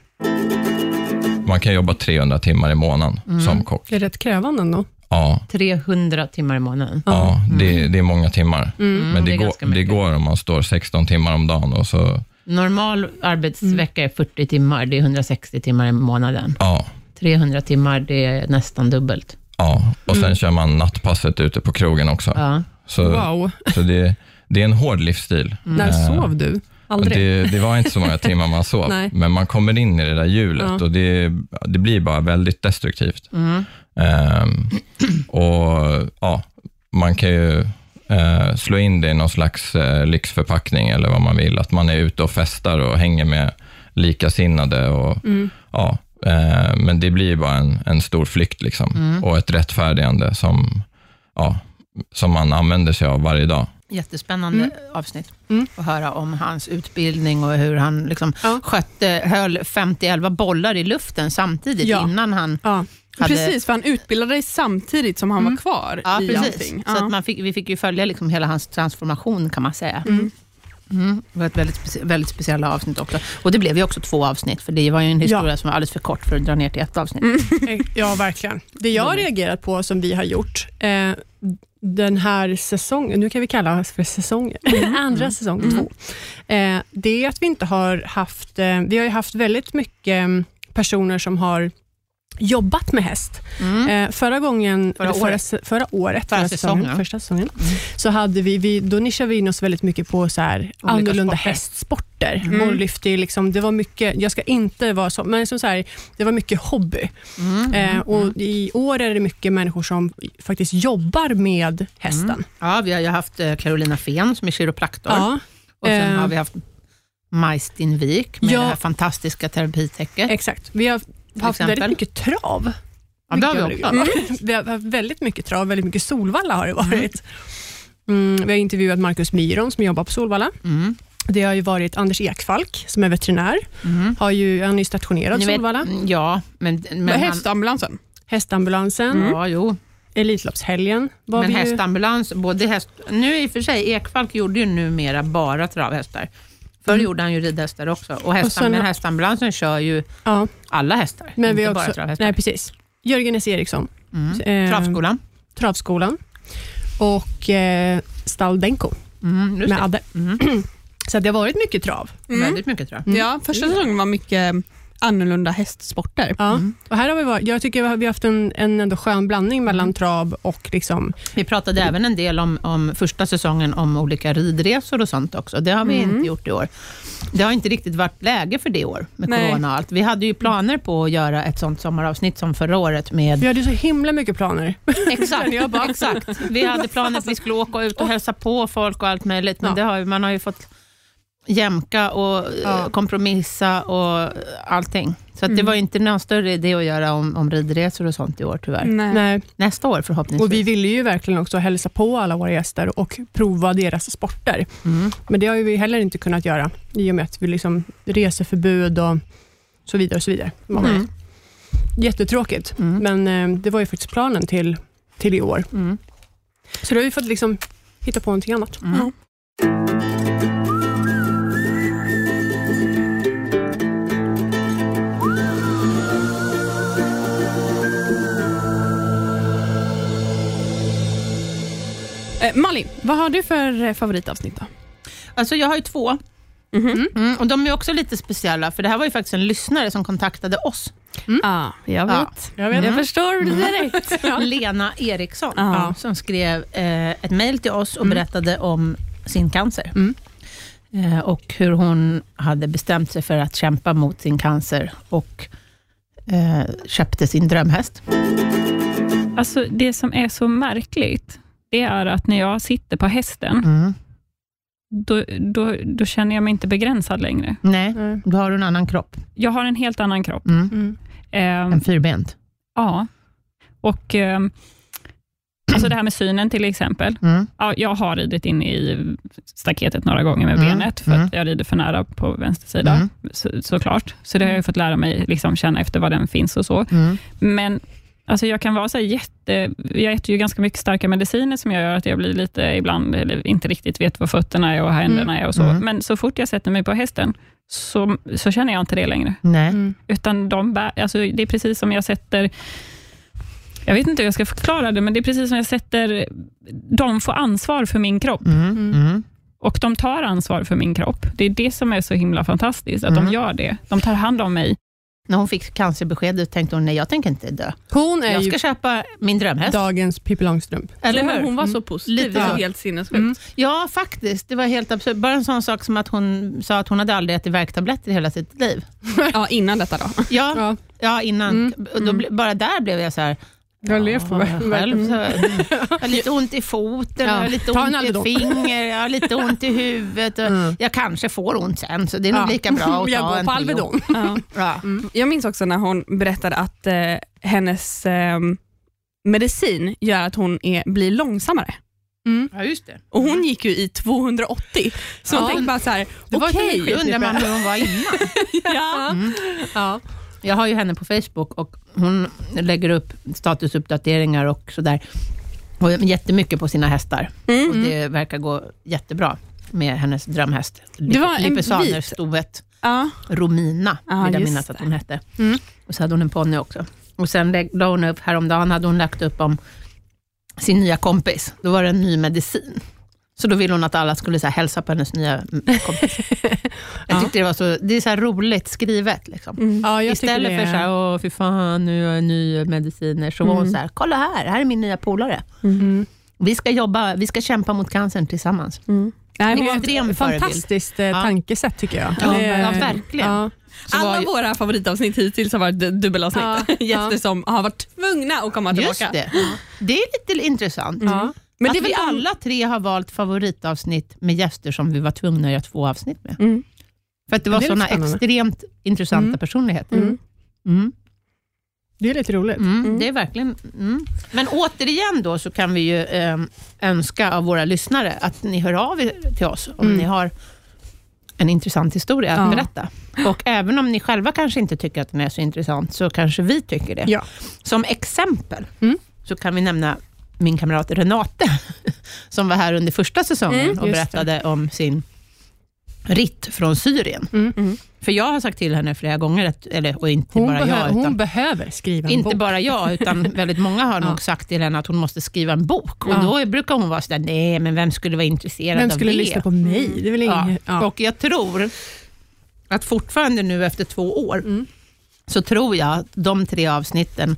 Speaker 6: Man kan jobba 300 timmar i månaden
Speaker 4: Mm.
Speaker 6: som kock.
Speaker 2: Det är rätt krävande ändå.
Speaker 6: Ja,
Speaker 4: 300 timmar i månaden.
Speaker 6: ja det, det är många timmar.
Speaker 2: Mm.
Speaker 6: Men
Speaker 4: Mm, det
Speaker 6: det,
Speaker 4: är ganska
Speaker 6: går, det
Speaker 4: mycket.
Speaker 6: går om man står 16 timmar om dagen. Och så,
Speaker 4: Normal arbetsvecka är 40 timmar, det är 160 timmar i månaden.
Speaker 6: ja,
Speaker 4: 300 timmar, det är nästan dubbelt.
Speaker 6: ja. Och sen kör man nattpasset ute på krogen också.
Speaker 4: Mm. Ja.
Speaker 6: Så,
Speaker 2: Wow.
Speaker 6: så det, det är en hård livsstil.
Speaker 2: När
Speaker 6: Eh,
Speaker 2: sov du? Aldrig?
Speaker 6: Det, det var inte så många timmar man sov,
Speaker 2: Nej.
Speaker 6: men man kommer in i det där hjulet
Speaker 2: Ja. Mm.
Speaker 6: och det, det blir bara väldigt destruktivt. Ehm, och ja, Man kan ju eh, slå in det i någon slags eh, lyxförpackning eller vad man vill, att man är ute och festar och hänger med likasinnade. Och, ja, eh, men det blir ju bara en, en stor flykt liksom, och ett rättfärdigande som, ja, som man använder sig av varje dag.
Speaker 4: Jättespännande avsnitt att höra om hans utbildning och hur han liksom skötte, höll 50-11 bollar i luften samtidigt
Speaker 2: Ja.
Speaker 4: innan han...
Speaker 2: Ja.
Speaker 4: hade- Mm.
Speaker 3: Precis, för han utbildade sig samtidigt som han var kvar
Speaker 4: Ja,
Speaker 3: i
Speaker 4: precis.
Speaker 3: allting.
Speaker 4: Så
Speaker 3: Ja.
Speaker 4: att man fick, vi fick ju följa liksom hela hans transformation kan man säga. Mm, det var ett väldigt, speci- väldigt speciella avsnitt också. Och det blev ju också två avsnitt, för det var ju en historia som var alldeles för kort för att dra ner till ett avsnitt.
Speaker 2: Ja, verkligen. Det jag har reagerat på som vi har gjort eh, den här säsongen, nu kan vi kalla det för säsonger, andra säsong två, eh, det är att vi inte har haft, eh, vi har ju haft väldigt mycket mm, personer som har jobbat med häst.
Speaker 4: Mm.
Speaker 2: Eh, förra gången,
Speaker 4: Förra
Speaker 2: eller
Speaker 4: året.
Speaker 2: se- förra året,
Speaker 4: Förra
Speaker 2: säsongen,
Speaker 4: säsongen. Mm.
Speaker 2: första säsongen, så hade vi, vi, då nischade vi in oss väldigt mycket på så här, annorlunda
Speaker 4: sporter. Mm.
Speaker 2: hästsporter. Och lyfte ju liksom, det var mycket, jag ska inte vara så, men som så här, det var mycket hobby.
Speaker 4: Mm.
Speaker 2: Eh, och I år är det mycket människor som faktiskt jobbar med hästen.
Speaker 4: Ja, vi har ju haft eh, Carolina Fen som är kiropraktor.
Speaker 2: Ja,
Speaker 4: Och sen
Speaker 2: eh.
Speaker 4: har vi haft Majstin Wik med
Speaker 2: Ja.
Speaker 4: det här fantastiska terapitecket.
Speaker 2: exakt. Vi har haft
Speaker 4: exempel.
Speaker 2: väldigt mycket trav.
Speaker 4: Ja, det har vi
Speaker 2: Mycket
Speaker 4: också.
Speaker 2: roligt. Vi har haft väldigt mycket trav, väldigt mycket Solvalla har det varit. Mm, vi har intervjuat Markus Myron som jobbar på Solvalla.
Speaker 4: Mm.
Speaker 2: Det har ju varit Anders Ekfalk som är veterinär.
Speaker 4: Mm.
Speaker 2: Har ju, han är ju stationerad
Speaker 4: Ni
Speaker 2: på
Speaker 4: vet-
Speaker 2: Solvalla.
Speaker 4: mm, ja, men, men,
Speaker 3: Med
Speaker 4: han,
Speaker 3: hästambulansen.
Speaker 2: Hästambulansen,
Speaker 4: ja, jo.
Speaker 2: Elitloppshelgen var
Speaker 4: Mm. men
Speaker 2: vi ju.
Speaker 4: hästambulans, både häst... Nu i och för sig, Ekfalk gjorde ju numera bara travhästar. Förr gjorde han ju ridhästar också. Och hästam,
Speaker 2: Mm. sen-
Speaker 4: men hästambulansen kör ju
Speaker 2: Ja,
Speaker 4: alla hästar,
Speaker 2: men
Speaker 4: inte
Speaker 2: vi har
Speaker 4: bara
Speaker 2: också,
Speaker 4: travhästar.
Speaker 2: nej, precis. Jörgen S. Eriksson.
Speaker 4: Mm.
Speaker 2: Eh,
Speaker 4: Travskolan.
Speaker 2: Travskolan och eh, Stall Denko
Speaker 4: Mm, just
Speaker 2: med Mm.
Speaker 4: det.
Speaker 2: Adde. Så att det har varit mycket trav.
Speaker 4: Väldigt mycket trav.
Speaker 3: Ja, första säsongen var mycket annorlunda hästsporter.
Speaker 2: Ja.
Speaker 4: Mm.
Speaker 2: Och här har vi varit, jag tycker vi har vi har haft en, en ändå skön blandning
Speaker 4: Mm.
Speaker 2: mellan trav och liksom,
Speaker 4: Vi pratade även en del om, om första säsongen om olika ridresor och sånt också. Det har vi
Speaker 2: Mm.
Speaker 4: inte gjort i år. Det har inte riktigt varit läge för det i år med
Speaker 3: Nej.
Speaker 4: corona och allt. Vi hade ju planer på att göra ett sånt sommaravsnitt som förra året
Speaker 2: vi
Speaker 4: med...
Speaker 2: hade ju så himla mycket planer.
Speaker 4: Exakt, exakt. Vi hade planer att vi skulle åka ut och hälsa på folk och allt möjligt, men
Speaker 2: Ja.
Speaker 4: det har, ju- man har ju fått jämka och eh,
Speaker 2: Ja. Mm.
Speaker 4: kompromissa och eh, allting. Så att det var ju inte någon större idé att göra om, om ridresor och sånt i år tyvärr.
Speaker 3: Nej.
Speaker 2: Nej.
Speaker 4: Nästa år förhoppningsvis.
Speaker 2: Mm. Och vi ville ju verkligen också hälsa på alla våra gäster och prova deras sporter.
Speaker 4: Mm.
Speaker 2: Men det har ju vi heller inte kunnat göra i och med att vi liksom reseförbud och så vidare. och så vidare.
Speaker 4: Mm.
Speaker 2: Jättetråkigt,
Speaker 4: Mm.
Speaker 2: men eh, det var ju faktiskt planen till, till i år.
Speaker 4: Mm.
Speaker 2: Så då har vi fått liksom hitta på någonting annat.
Speaker 4: Mm.
Speaker 3: Eh, Malin, vad har du för eh, favoritavsnitt då?
Speaker 4: Alltså jag har ju två.
Speaker 3: Mhm.
Speaker 4: Mm, och De är också lite speciella, för det här var ju faktiskt en lyssnare som kontaktade oss.
Speaker 3: Ah, jag
Speaker 4: Ja.
Speaker 3: vet.
Speaker 2: Jag vet. Mm.
Speaker 3: Jag förstår direkt.
Speaker 4: Lena Eriksson,
Speaker 3: Ja.
Speaker 4: som skrev eh, ett mejl till oss och berättade om sin cancer. Eh, och hur hon hade bestämt sig för att kämpa mot sin cancer och eh, köpte sin drömhäst.
Speaker 7: Alltså det som är så märkligt, det är att när jag sitter på hästen,
Speaker 4: Mm.
Speaker 7: då, då, då känner jag mig inte begränsad längre.
Speaker 4: Nej,
Speaker 2: Nej.
Speaker 4: då har du en annan kropp.
Speaker 7: Jag har en helt annan kropp.
Speaker 4: Mm.
Speaker 2: Mm.
Speaker 7: Ehm,
Speaker 4: En fyrbent.
Speaker 7: ja. Och ehm, alltså det här med synen till exempel.
Speaker 4: Mm.
Speaker 7: Ja, jag har ridit in i staketet några gånger med
Speaker 4: Mm,
Speaker 7: benet, för
Speaker 4: mm.
Speaker 7: att jag rider för nära på vänster sida,
Speaker 4: Mm.
Speaker 7: så, såklart. Så det har jag ju fått lära mig liksom, känna efter var den finns och så.
Speaker 4: Mm.
Speaker 7: Men alltså jag kan vara så här jätte... Jag äter ju ganska mycket starka mediciner som jag gör att jag blir lite ibland, eller inte riktigt vet var fötterna är och händerna är och så.
Speaker 4: Mm.
Speaker 7: Men så fort jag sätter mig på hästen, så, så känner jag inte det längre.
Speaker 4: Nej.
Speaker 7: Utan de bär, alltså det är precis som jag sätter... Jag vet inte hur jag ska förklara det, men det är precis som jag sätter... De får ansvar för min kropp
Speaker 4: Mm. Mm.
Speaker 7: och de tar ansvar för min kropp. Det är det som är så himla fantastiskt, att
Speaker 4: Mm.
Speaker 7: de gör det. De tar hand om mig.
Speaker 4: När hon fick cancerbeskedet tänkte hon, nej jag tänker inte dö.
Speaker 2: Hon är
Speaker 4: Jag
Speaker 2: ju
Speaker 4: ska köpa min drömhäst.
Speaker 2: dagens Pippi Långstrump.
Speaker 4: Eller hur? Mm.
Speaker 3: Hon var så positiv.
Speaker 4: Lite
Speaker 3: Det var
Speaker 4: så.
Speaker 3: helt sinnessjukt.
Speaker 2: Mm.
Speaker 4: Ja, faktiskt. Det var helt absurt. Bara en sån sak som att hon sa att hon hade aldrig ätit värktabletter i hela sitt liv.
Speaker 3: Ja, innan detta då.
Speaker 4: Ja, ja.
Speaker 2: Ja.
Speaker 4: innan.
Speaker 2: Mm,
Speaker 4: Och då, ble- Bara där blev jag så här...
Speaker 2: Jag har
Speaker 4: ja,
Speaker 2: levt på
Speaker 4: jag själv,
Speaker 2: verkligen.
Speaker 4: så, här, jag har lite ont i foten,
Speaker 2: Ja,
Speaker 4: jag har lite
Speaker 2: ta en
Speaker 4: ont i ett
Speaker 2: Alvedon.
Speaker 4: finger, jag har lite ont i huvudet. Och
Speaker 2: Mm.
Speaker 4: Jag kanske får ont sen, så det är nog
Speaker 2: Ja.
Speaker 4: lika bra att
Speaker 2: Jag
Speaker 4: ta
Speaker 2: går
Speaker 4: en
Speaker 2: på
Speaker 4: Treo.
Speaker 2: Alvedon.
Speaker 4: Ja.
Speaker 3: Mm. Jag minns också när hon berättade att eh, hennes eh, medicin gör att hon är, blir långsammare.
Speaker 4: ja, just det.
Speaker 3: Och Hon gick ju i 280, så hon
Speaker 4: Mm. Ja.
Speaker 3: tänkte bara så här,
Speaker 4: Det var
Speaker 3: okej.
Speaker 4: okay. undrar man hur hon var innan.
Speaker 3: Ja.
Speaker 2: Ja.
Speaker 4: Mm. Jag har ju henne på Facebook och hon lägger upp statusuppdateringar och sådär. Och jättemycket på sina hästar.
Speaker 3: Mm.
Speaker 4: Och det verkar gå jättebra. med hennes drömhäst.
Speaker 3: Det var en vit.
Speaker 4: Lippesanerstovet
Speaker 3: Ja.
Speaker 4: Romina,
Speaker 3: Ja,
Speaker 4: vill jag
Speaker 3: just
Speaker 4: minnas att
Speaker 3: det.
Speaker 4: hon hette.
Speaker 3: Mm.
Speaker 4: Och så hade hon en ponny också. Och sen lä- la hon upp, häromdagen hade hon lagt upp om sin nya kompis. Då var det en ny medicin. Så då ville hon att alla skulle så här, hälsa på hennes nya mm, kompis. Jag tyckte det var så, det är så här roligt skrivet. Liksom.
Speaker 3: Mm.
Speaker 2: Ja, jag tycker
Speaker 4: Istället
Speaker 2: det
Speaker 4: för
Speaker 2: är-
Speaker 4: så här, åh fy fan, nu har jag nya mediciner, så var hon så här, kolla här, här är min nya polare.
Speaker 2: Mm.
Speaker 4: Mm. Vi ska jobba, vi ska kämpa mot cancern tillsammans.
Speaker 3: Mm.
Speaker 4: Det
Speaker 2: Nej, men
Speaker 4: är en
Speaker 2: jag-
Speaker 4: extrem förebild.
Speaker 2: fantastiskt eh,
Speaker 4: Ja.
Speaker 2: tankesätt tycker jag.
Speaker 4: Ja,
Speaker 2: Det-
Speaker 4: ja, verkligen.
Speaker 2: Ja.
Speaker 4: Så var
Speaker 3: Alla
Speaker 4: ju-
Speaker 3: våra favoritavsnitt hittills har varit du- dubbelavsnitt.
Speaker 2: Ja,
Speaker 3: Gäster
Speaker 2: ja.
Speaker 3: som har varit tvungna att komma tillbaka. Mm.
Speaker 4: Just det. Det är lite intressant.
Speaker 2: Ja.
Speaker 3: Men det är
Speaker 4: att vi
Speaker 3: väl alla...
Speaker 4: alla tre har valt favoritavsnitt med gäster som vi var tvungna att göra två avsnitt med.
Speaker 3: Mm.
Speaker 4: För att det var
Speaker 2: Det är lite
Speaker 4: sådana
Speaker 2: spännande.
Speaker 4: extremt intressanta
Speaker 2: Mm.
Speaker 4: personligheter.
Speaker 2: Mm.
Speaker 4: Mm.
Speaker 2: Det är lite roligt.
Speaker 4: Mm. Det är verkligen... Mm. Men återigen då så kan vi ju eh, önska av våra lyssnare att ni hör av er till oss om
Speaker 2: Mm.
Speaker 4: ni har en intressant historia att
Speaker 2: Ja.
Speaker 4: berätta. Och även om ni själva kanske inte tycker att den är så intressant, så kanske vi tycker det.
Speaker 2: Ja.
Speaker 4: Som exempel
Speaker 2: Mm.
Speaker 4: så kan vi nämna min kamrat Renate, som var här under första säsongen
Speaker 2: Mm,
Speaker 4: och
Speaker 2: just
Speaker 4: berättade om sin ritt från Syrien.
Speaker 2: Mm.
Speaker 4: För jag har sagt till henne flera gånger, att, eller, och inte
Speaker 2: Hon,
Speaker 4: bara
Speaker 2: behö-
Speaker 4: jag, utan
Speaker 2: hon behöver skriva en
Speaker 4: inte
Speaker 2: bok.
Speaker 4: bara jag, utan väldigt många har
Speaker 2: Ja.
Speaker 4: nog sagt till henne att hon måste skriva en bok. Och
Speaker 2: Ja.
Speaker 4: Då brukar hon vara sådär, nej men vem skulle vara intresserad
Speaker 2: Vem
Speaker 4: av
Speaker 2: skulle
Speaker 4: det?
Speaker 2: lyssna på mig? Det är väl
Speaker 4: ja.
Speaker 2: ingen... Mm. Ja.
Speaker 4: Och jag tror att fortfarande nu efter två år,
Speaker 2: Mm.
Speaker 4: så tror jag att de tre avsnitten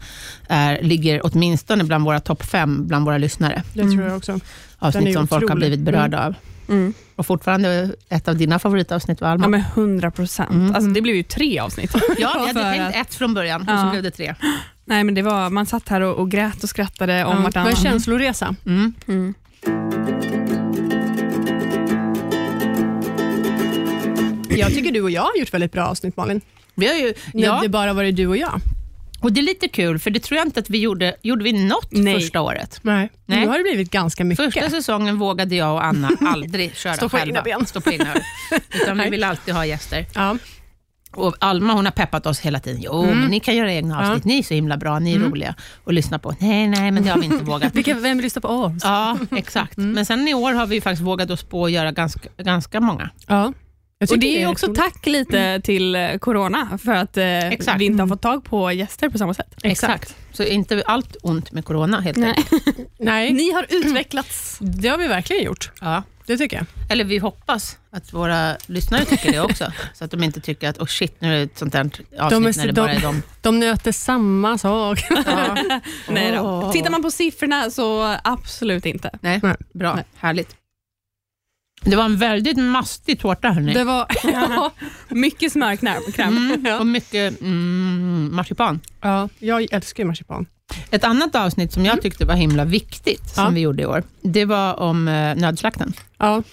Speaker 4: är, ligger åtminstone bland våra topp fem bland våra lyssnare.
Speaker 2: Det tror jag också. Den är
Speaker 4: Avsnitt som folk har
Speaker 2: otrolig.
Speaker 4: blivit berörda av.
Speaker 3: Mm.
Speaker 4: Och fortfarande ett av dina favoritavsnitt var Alma.
Speaker 3: Ja men 100 procent.
Speaker 4: Mm.
Speaker 3: Alltså, det blev ju tre avsnitt.
Speaker 4: ja, vi hade
Speaker 3: för
Speaker 4: tänkt
Speaker 3: att-
Speaker 4: ett från början och så
Speaker 3: Ja.
Speaker 4: blev det tre.
Speaker 3: Nej men det var, man satt här och, och grät och skrattade om
Speaker 2: Ja. Det var en
Speaker 3: vartannat.
Speaker 2: känsloresa.
Speaker 4: Mm.
Speaker 3: Mm.
Speaker 2: Jag tycker du och jag har gjort väldigt bra avsnitt Malin.
Speaker 4: Vi har ju,
Speaker 2: Ja.
Speaker 4: ja,
Speaker 2: Det bara varit du och jag.
Speaker 4: och det är lite kul, för det tror jag inte att vi gjorde. Gjorde vi något
Speaker 3: Nej.
Speaker 4: första året?
Speaker 2: Nej.
Speaker 4: Nej.
Speaker 2: Nu har det blivit ganska mycket.
Speaker 4: Första säsongen vågade jag och Anna aldrig köra
Speaker 2: Stå på
Speaker 4: själva.
Speaker 2: egna ben.
Speaker 4: Stå på egna ben. Utan vi vill alltid ha gäster.
Speaker 2: Ja.
Speaker 4: Och Alma hon har peppat oss hela tiden. Jo,
Speaker 2: Mm.
Speaker 4: men ni kan göra egna avsnitt. Ni är så himla bra, ni är roliga att lyssna på. Nej, nej, men det har vi inte vågat.
Speaker 2: Vilka, vem lyssnar på oss?
Speaker 4: Ja, exakt.
Speaker 2: Mm.
Speaker 4: Men sen i år har vi ju faktiskt vågat oss på att göra ganska, ganska många.
Speaker 2: Ja. Jag
Speaker 3: Och
Speaker 2: tycker
Speaker 3: det är ju också
Speaker 2: roligt.
Speaker 3: tack lite till eh, corona för att eh,
Speaker 4: Exakt.
Speaker 3: vi inte har fått tag på gäster på samma sätt.
Speaker 4: Så inte allt ont med corona helt
Speaker 3: Nej.
Speaker 4: enkelt.
Speaker 2: Nej,
Speaker 3: Ni har utvecklats.
Speaker 2: det har vi verkligen gjort.
Speaker 4: Ja.
Speaker 2: Det tycker jag.
Speaker 4: Eller vi hoppas att våra lyssnare tycker det också. så att de inte tycker att oh shit, nu är det ett sånt här avsnitt
Speaker 2: De är så-
Speaker 4: när det bara är
Speaker 2: de-
Speaker 4: de.
Speaker 2: De nöter samma sak.
Speaker 4: Ja.
Speaker 3: Nej då.
Speaker 4: Åh.
Speaker 3: Tittar man på siffrorna så absolut inte.
Speaker 4: Nej,
Speaker 2: Nej.
Speaker 4: bra.
Speaker 2: Nej.
Speaker 4: Härligt. Det var en väldigt mastig tårta, hörni.
Speaker 2: Det var...
Speaker 3: Mycket smörkräm.
Speaker 4: Mm, och mycket mm, marsipan.
Speaker 2: Ja, jag älskar ju marsipan.
Speaker 4: Ett annat avsnitt som jag tyckte var himla viktigt, som
Speaker 2: Mm. Ja.
Speaker 4: vi gjorde i år, det var om eh, nödslakten.
Speaker 2: Ja.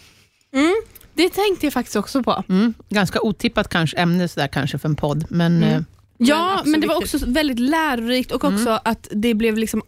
Speaker 3: Mm. Det tänkte jag faktiskt också på.
Speaker 4: Mm. Ganska otippat kanske, ämne sådär kanske för en podd, men
Speaker 2: Mm.
Speaker 4: eh,
Speaker 3: Ja,
Speaker 2: också
Speaker 3: men, Mm. det var
Speaker 2: viktigt.
Speaker 3: också väldigt lärorikt och också att det blev liksom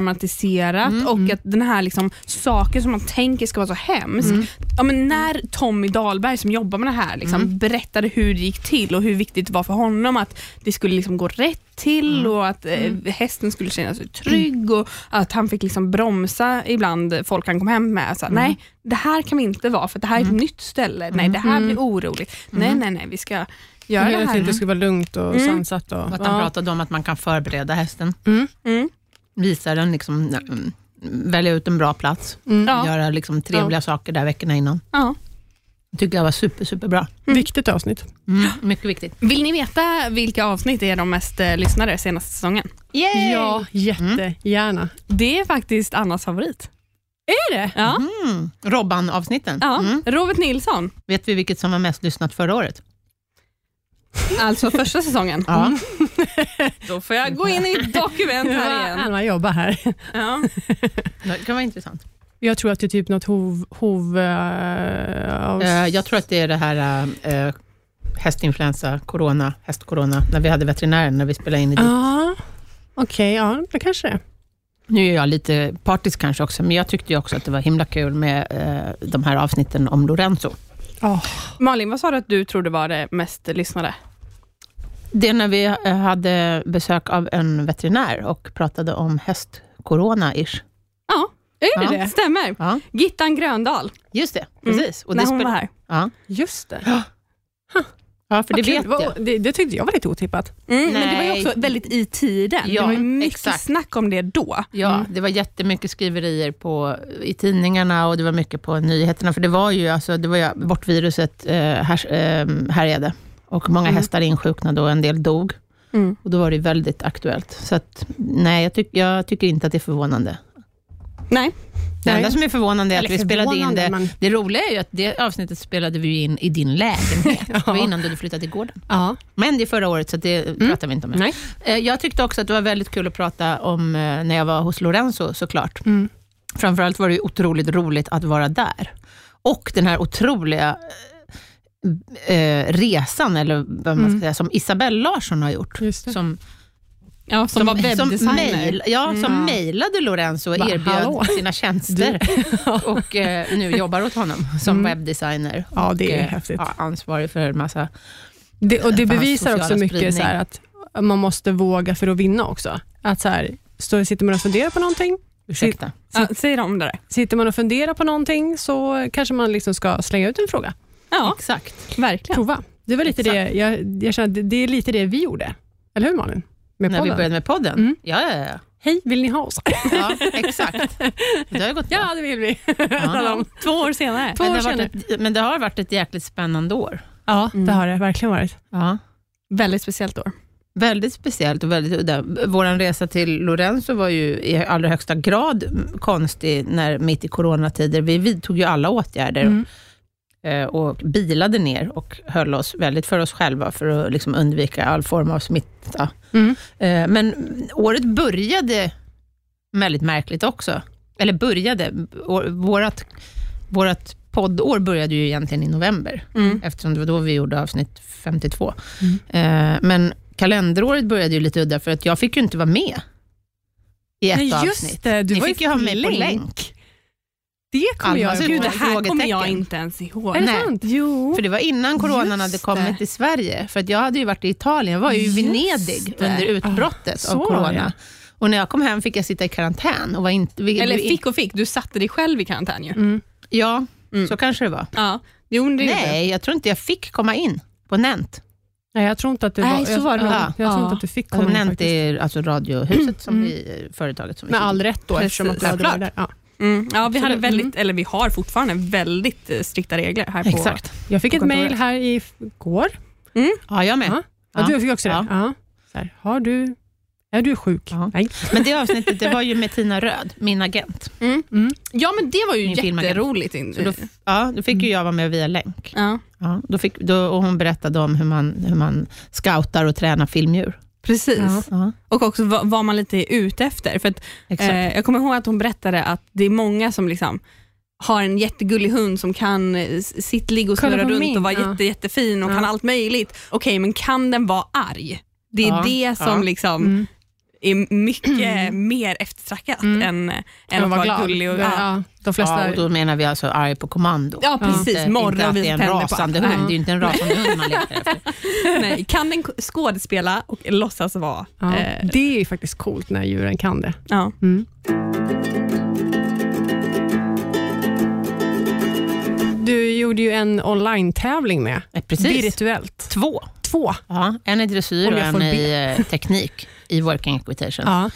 Speaker 3: avdramatiserat och att den här liksom saken som man tänker ska vara så hemsk. Ja, men när Tommy Dahlberg som jobbar med det här liksom, berättade hur det gick till och hur viktigt det var för honom att det skulle liksom gå rätt till och att eh, hästen skulle känna sig trygg och att han fick liksom bromsa ibland folk han kom hem med. Så, här, Nej, det här kan vi inte vara för det här är ett nytt ställe. Nej, det här blir oroligt. Nej, nej, nej, vi ska göra det
Speaker 2: Att det
Speaker 3: här.
Speaker 2: inte skulle vara lugnt och sansat. Och,
Speaker 4: att han
Speaker 2: ja.
Speaker 4: pratade om att man kan förbereda hästen.
Speaker 3: Mm.
Speaker 4: Visa den, liksom, mm, välja ut en bra plats,
Speaker 3: Mm. Ja.
Speaker 4: göra liksom, trevliga saker där veckorna innan.
Speaker 3: Ja.
Speaker 4: Det tycker jag var super, superbra.
Speaker 2: Viktigt avsnitt.
Speaker 4: Mm. Mycket viktigt.
Speaker 3: Vill ni veta vilka avsnitt är de mest eh, lyssnade senaste säsongen?
Speaker 4: Yay!
Speaker 2: Ja, jättegärna.
Speaker 3: Det är faktiskt Annas favorit. Är det? Ja.
Speaker 4: Mm. Robban-avsnitten.
Speaker 3: ja.
Speaker 4: Mm.
Speaker 3: Robert Nilsson,
Speaker 4: Vet vi vilket som var mest lyssnat förra året?
Speaker 3: alltså första säsongen.
Speaker 4: Ja.
Speaker 3: Då får jag gå in i mitt dokument här
Speaker 2: Ja,
Speaker 3: igen.
Speaker 2: Anna jobbar här.
Speaker 3: Ja.
Speaker 4: Det kan vara intressant.
Speaker 2: Jag tror att det är typ något hov... hov eh, av-
Speaker 4: Eh, jag tror att det är det här eh, hästinfluensa, corona, hästcorona, när vi hade veterinären, när vi spelade in i det.
Speaker 2: Ja, okej. ja, det kanske det är.
Speaker 4: Nu är jag lite partisk kanske också, men jag tyckte ju också att det var himla kul med eh, de här avsnitten om Lorenzo.
Speaker 2: Ja.
Speaker 3: Malin, vad sa du att du trodde var det mest lyssnade?
Speaker 4: Det när vi eh, hade besök av en veterinär och pratade om hästcorona-ish.
Speaker 3: Ja. Är det
Speaker 4: Ja.
Speaker 3: det? Stämmer.
Speaker 4: Ja,
Speaker 3: Gittan Gröndal,
Speaker 4: just det. Precis. Och
Speaker 3: när
Speaker 4: det
Speaker 3: hon var
Speaker 4: spelar-
Speaker 3: här.
Speaker 4: Ja.
Speaker 2: Just det.
Speaker 4: ja, för det
Speaker 2: Vad kul.
Speaker 4: vet
Speaker 2: Vad-
Speaker 4: jag.
Speaker 2: Det, det tyckte jag var lite otippat.
Speaker 3: Mm, men det var ju
Speaker 4: Nej.
Speaker 3: också väldigt i tiden.
Speaker 4: Ja,
Speaker 3: det var ju mycket
Speaker 4: exakt.
Speaker 3: snack om det då.
Speaker 4: Ja, det var jättemycket skriverier på, i tidningarna och det var mycket på nyheterna, för det var ju, alltså, det var ju bortviruset eh, här, eh, härjade och många hästar insjuknade och en del dog.
Speaker 3: Mm.
Speaker 4: Och då var det väldigt aktuellt. Så att, nej, jag, tyck, jag tycker inte att det är förvånande.
Speaker 3: Nej.
Speaker 4: Det
Speaker 2: Nej.
Speaker 4: enda som är förvånande är att
Speaker 2: Eller
Speaker 4: vi spelade in
Speaker 2: förvånande,
Speaker 4: det.
Speaker 2: men-
Speaker 4: Det roliga är ju att det avsnittet spelade vi ju in i din lägenhet. Det var
Speaker 2: Ja.
Speaker 4: innan du hade flyttat till gården.
Speaker 2: Ja.
Speaker 4: Men det är förra året, så att det pratar vi inte om. nu.
Speaker 2: Mm. Nej.
Speaker 4: Eh, Jag tyckte också att det var väldigt kul att prata om eh, när jag var hos Lorenzo såklart.
Speaker 2: Mm.
Speaker 4: Framförallt var det ju otroligt roligt att vara där. Och den här otroliga eh, eh, resan, eller vad man ska säga, som Isabelle Larsson har gjort.
Speaker 2: Mm. Just det.
Speaker 4: Som,
Speaker 3: Ja, som, var
Speaker 4: som,
Speaker 3: webbdesigner.
Speaker 4: mail, ja, som mejlade Lorenzo och
Speaker 2: Va,
Speaker 4: erbjöd
Speaker 2: Mm. hallå?
Speaker 4: sina tjänster. och eh, nu jobbar åt honom som webbdesigner.
Speaker 2: Mm. Ja, det
Speaker 4: och,
Speaker 2: är
Speaker 4: eh,
Speaker 2: häftigt.
Speaker 4: ja, ansvarig för en massa...
Speaker 2: Det, och
Speaker 4: För
Speaker 2: det
Speaker 4: hans
Speaker 2: bevisar också
Speaker 4: sociala
Speaker 2: mycket så här att man måste våga för att vinna också. Att så här, står, sitter man och funderar på någonting,
Speaker 4: Ursäkta.
Speaker 3: Ja, säger de om det där?
Speaker 2: sitter man och funderar på någonting så kanske man liksom ska slänga ut en fråga.
Speaker 3: Ja,
Speaker 4: Exakt.
Speaker 3: verkligen.
Speaker 2: Prova. Det var lite det, jag, jag känner att det, det är lite det vi gjorde. Eller hur Malin? Med
Speaker 4: När vi
Speaker 2: podden.
Speaker 4: började med podden.
Speaker 2: Mm.
Speaker 4: Ja, ja, ja.
Speaker 2: Hej, vill ni ha oss?
Speaker 4: Ja, exakt. Det har ju gått bra.
Speaker 2: ja, det vill vi.
Speaker 4: Ja.
Speaker 3: Två år senare.
Speaker 2: Två
Speaker 4: Men,
Speaker 2: år
Speaker 4: det har
Speaker 2: senare.
Speaker 4: varit ett, men det har varit ett jäkligt spännande år.
Speaker 2: Ja,
Speaker 3: Mm.
Speaker 2: det har det verkligen varit.
Speaker 4: Ja.
Speaker 3: Väldigt speciellt år.
Speaker 4: Väldigt speciellt och väldigt udda. Vår resa till Lorenzo var ju i allra högsta grad konstig när, mitt i coronatider. Vi vidtog ju alla åtgärder
Speaker 2: Mm.
Speaker 4: eh, och bilade ner och höll oss väldigt för oss själva för att liksom undvika all form av smitta.
Speaker 2: Mm.
Speaker 4: Eh, Men året började väldigt märkligt också. Eller började, år- vårat, vårat poddår började ju egentligen i november,
Speaker 3: Mm.
Speaker 4: eftersom det var då vi gjorde avsnitt 52.
Speaker 2: Mm.
Speaker 4: Eh, Men kalenderåret började ju lite udda, för att jag fick ju inte vara med i ett
Speaker 2: Nej,
Speaker 4: avsnitt.
Speaker 2: just det. Du
Speaker 4: Ni
Speaker 2: var ju
Speaker 4: fick ju ha mig på
Speaker 2: länk.
Speaker 4: länk.
Speaker 2: Det kommer
Speaker 4: Alma
Speaker 2: jag
Speaker 4: ser
Speaker 2: ihåg.
Speaker 4: ut
Speaker 3: Gud,
Speaker 4: Två
Speaker 3: det här kommer jag
Speaker 4: frågetecken.
Speaker 3: inte ens ihåg.
Speaker 2: Är det
Speaker 4: Nej.
Speaker 2: sant?
Speaker 3: Jo.
Speaker 4: För det var innan coronan
Speaker 3: Just
Speaker 4: hade kommit
Speaker 3: det.
Speaker 4: till Sverige. För att jag hade ju varit i Italien, jag var ju i
Speaker 2: Just
Speaker 4: Venedig
Speaker 2: det.
Speaker 4: under utbrottet
Speaker 2: så
Speaker 4: av
Speaker 2: var
Speaker 4: corona.
Speaker 2: det.
Speaker 4: Och när jag kom hem fick jag sitta i karantän. Och var inte, vi-
Speaker 3: Eller
Speaker 4: vi-
Speaker 3: fick och fick, du satte dig själv i karantän ju.
Speaker 4: Ja,
Speaker 3: Mm.
Speaker 4: så kanske det var.
Speaker 3: Ja. Jo, men det gjorde
Speaker 4: Nej, jag tror inte jag fick komma in på Nent.
Speaker 2: Nej, jag tror inte att det var...
Speaker 3: Nej, så var det
Speaker 2: jag,
Speaker 4: nog.
Speaker 2: jag, jag tror
Speaker 3: Ja.
Speaker 2: inte att du fick komma
Speaker 4: Alltså,
Speaker 2: in
Speaker 4: Nent
Speaker 2: faktiskt.
Speaker 4: är alltså radiohuset, som vi, eh, företaget som vi
Speaker 2: Med all
Speaker 4: fick.
Speaker 2: rätt då, eftersom att du hade varit där. Ja.
Speaker 3: Mm. Ja, vi hade väldigt, eller vi har fortfarande väldigt eh, strikta regler här på
Speaker 4: Exakt.
Speaker 2: Jag fick ett
Speaker 3: kontoret.
Speaker 2: mejl här i f- går.
Speaker 4: Ja, jag med.
Speaker 2: Ja.
Speaker 4: Ja.
Speaker 2: Ja. Du fick också det?
Speaker 4: Ja.
Speaker 2: Ja. Så här, har du, är du sjuk?
Speaker 4: Ja.
Speaker 2: Nej.
Speaker 4: Men det avsnittet det var ju med Tina Röd, min agent.
Speaker 3: Mm.
Speaker 2: Mm.
Speaker 3: Ja, men det var ju
Speaker 4: Min filmagent.
Speaker 3: jätteroligt. In-
Speaker 4: Så då, ja, då fick ju jag vara med via länk.
Speaker 3: ja,
Speaker 4: Ja, då fick, då, och hon berättade om hur man, hur man scoutar och tränar filmdjur.
Speaker 3: precis.
Speaker 4: Ja,
Speaker 3: Och också vad, vad man lite är ute efter. För att,
Speaker 4: exakt.
Speaker 3: eh, jag kommer ihåg att hon berättade att det är många som liksom har en jättegullig hund som kan eh, s- sitt ligga och
Speaker 2: Kolla
Speaker 3: snurra
Speaker 2: på
Speaker 3: runt
Speaker 2: min,
Speaker 3: och vara
Speaker 2: ja.
Speaker 3: jätte, jättefin och
Speaker 2: Ja.
Speaker 3: kan allt möjligt. Okej, men kan den vara arg? Det är
Speaker 4: Ja,
Speaker 3: det som
Speaker 4: ja.
Speaker 3: liksom
Speaker 2: Mm.
Speaker 3: är mycket mer eftertraktat
Speaker 2: Mm.
Speaker 3: än,
Speaker 2: Jag
Speaker 3: än att
Speaker 2: var
Speaker 3: vara
Speaker 2: glad.
Speaker 3: gullig. Och,
Speaker 2: ja.
Speaker 3: ja.
Speaker 2: De
Speaker 4: ja,
Speaker 2: flesta...
Speaker 4: och då menar vi alltså arg på kommando.
Speaker 3: Ja, precis.
Speaker 4: Inte, inte
Speaker 3: Morra
Speaker 4: att
Speaker 3: och
Speaker 4: det är
Speaker 3: visa
Speaker 4: en
Speaker 3: tänder på
Speaker 4: rasande
Speaker 3: allt.
Speaker 4: hund. Det
Speaker 3: Nej.
Speaker 4: är ju inte en rasande hund man letar efter.
Speaker 3: Nej, kan den k- skådespela och låtsas vara...
Speaker 2: Ja.
Speaker 3: eh,
Speaker 2: Det är ju faktiskt coolt när djuren kan det.
Speaker 3: ja.
Speaker 2: Mm. Du gjorde ju en online-tävling med.
Speaker 4: Nej, Precis.
Speaker 2: Virtuellt.
Speaker 4: Två.
Speaker 2: Två.
Speaker 4: Ja, en i dressyr
Speaker 2: Om
Speaker 4: och
Speaker 2: jag får
Speaker 4: en i eh, teknik i working equitation.
Speaker 2: Ja.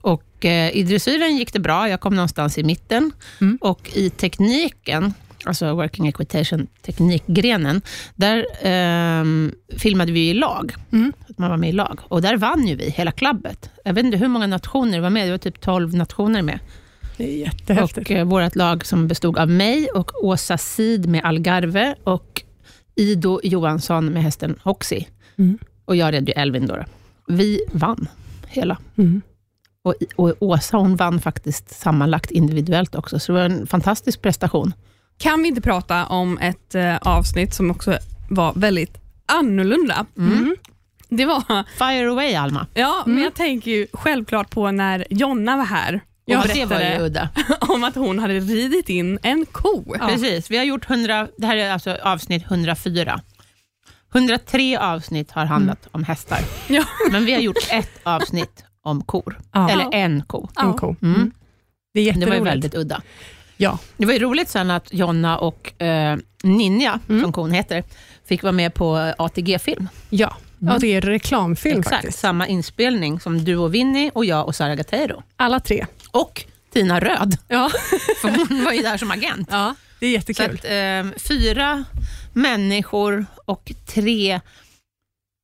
Speaker 4: Och, eh, I dressyren gick det bra, jag kom någonstans i mitten.
Speaker 2: Mm.
Speaker 4: Och i tekniken, alltså working equitation, teknikgrenen, där ehm, filmade vi i lag.
Speaker 2: Mm.
Speaker 4: Att man var med i lag. Och där vann ju vi, hela klubbet. Jag vet inte hur många nationer det var med, det var typ 12 nationer med.
Speaker 2: Det är jättehäftigt.
Speaker 4: Och eh, vårt lag som bestod av mig och Åsa Sid med Algarve och Ido Johansson med hästen Hoxie.
Speaker 2: Mm.
Speaker 4: Och jag red ju Elvin då. då. Vi vann hela.
Speaker 2: Mm.
Speaker 4: Och, och Åsa hon vann faktiskt sammanlagt individuellt också, så det var en fantastisk prestation.
Speaker 3: Kan vi inte prata om ett eh, avsnitt som också var väldigt annorlunda?
Speaker 2: Mm.
Speaker 3: Mm. Det var,
Speaker 4: Fire away, Alma.
Speaker 3: ja,
Speaker 4: Mm.
Speaker 3: men jag tänker ju självklart på när Jonna var här och
Speaker 4: Ja, det var ju
Speaker 3: berättade
Speaker 4: udda.
Speaker 3: om att hon hade ridit in en ko.
Speaker 4: Precis, vi har gjort 100, det här är alltså avsnitt 104. 103 avsnitt har handlat om hästar,
Speaker 3: Ja.
Speaker 4: men vi har gjort ett avsnitt om kor.
Speaker 2: Ja.
Speaker 4: Eller en ko.
Speaker 2: En ko.
Speaker 4: Mm.
Speaker 2: Det
Speaker 4: Det
Speaker 2: är jätteroligt.
Speaker 4: var ju väldigt udda.
Speaker 2: Ja.
Speaker 4: Det var ju roligt sen att Jonna och eh, Ninja,
Speaker 2: Mm.
Speaker 4: som kon heter, fick vara med på ATG-film.
Speaker 2: Ja. ja, det är reklamfilm
Speaker 4: Mm. Exakt,
Speaker 2: faktiskt.
Speaker 4: samma inspelning som du och Winnie och jag och Sara Gatteiro.
Speaker 2: Alla tre.
Speaker 4: Och Tina Röd,
Speaker 2: Ja,
Speaker 4: för hon var ju där som agent.
Speaker 2: ja det är
Speaker 4: Så
Speaker 2: jättekul.
Speaker 4: att, eh, fyra människor och tre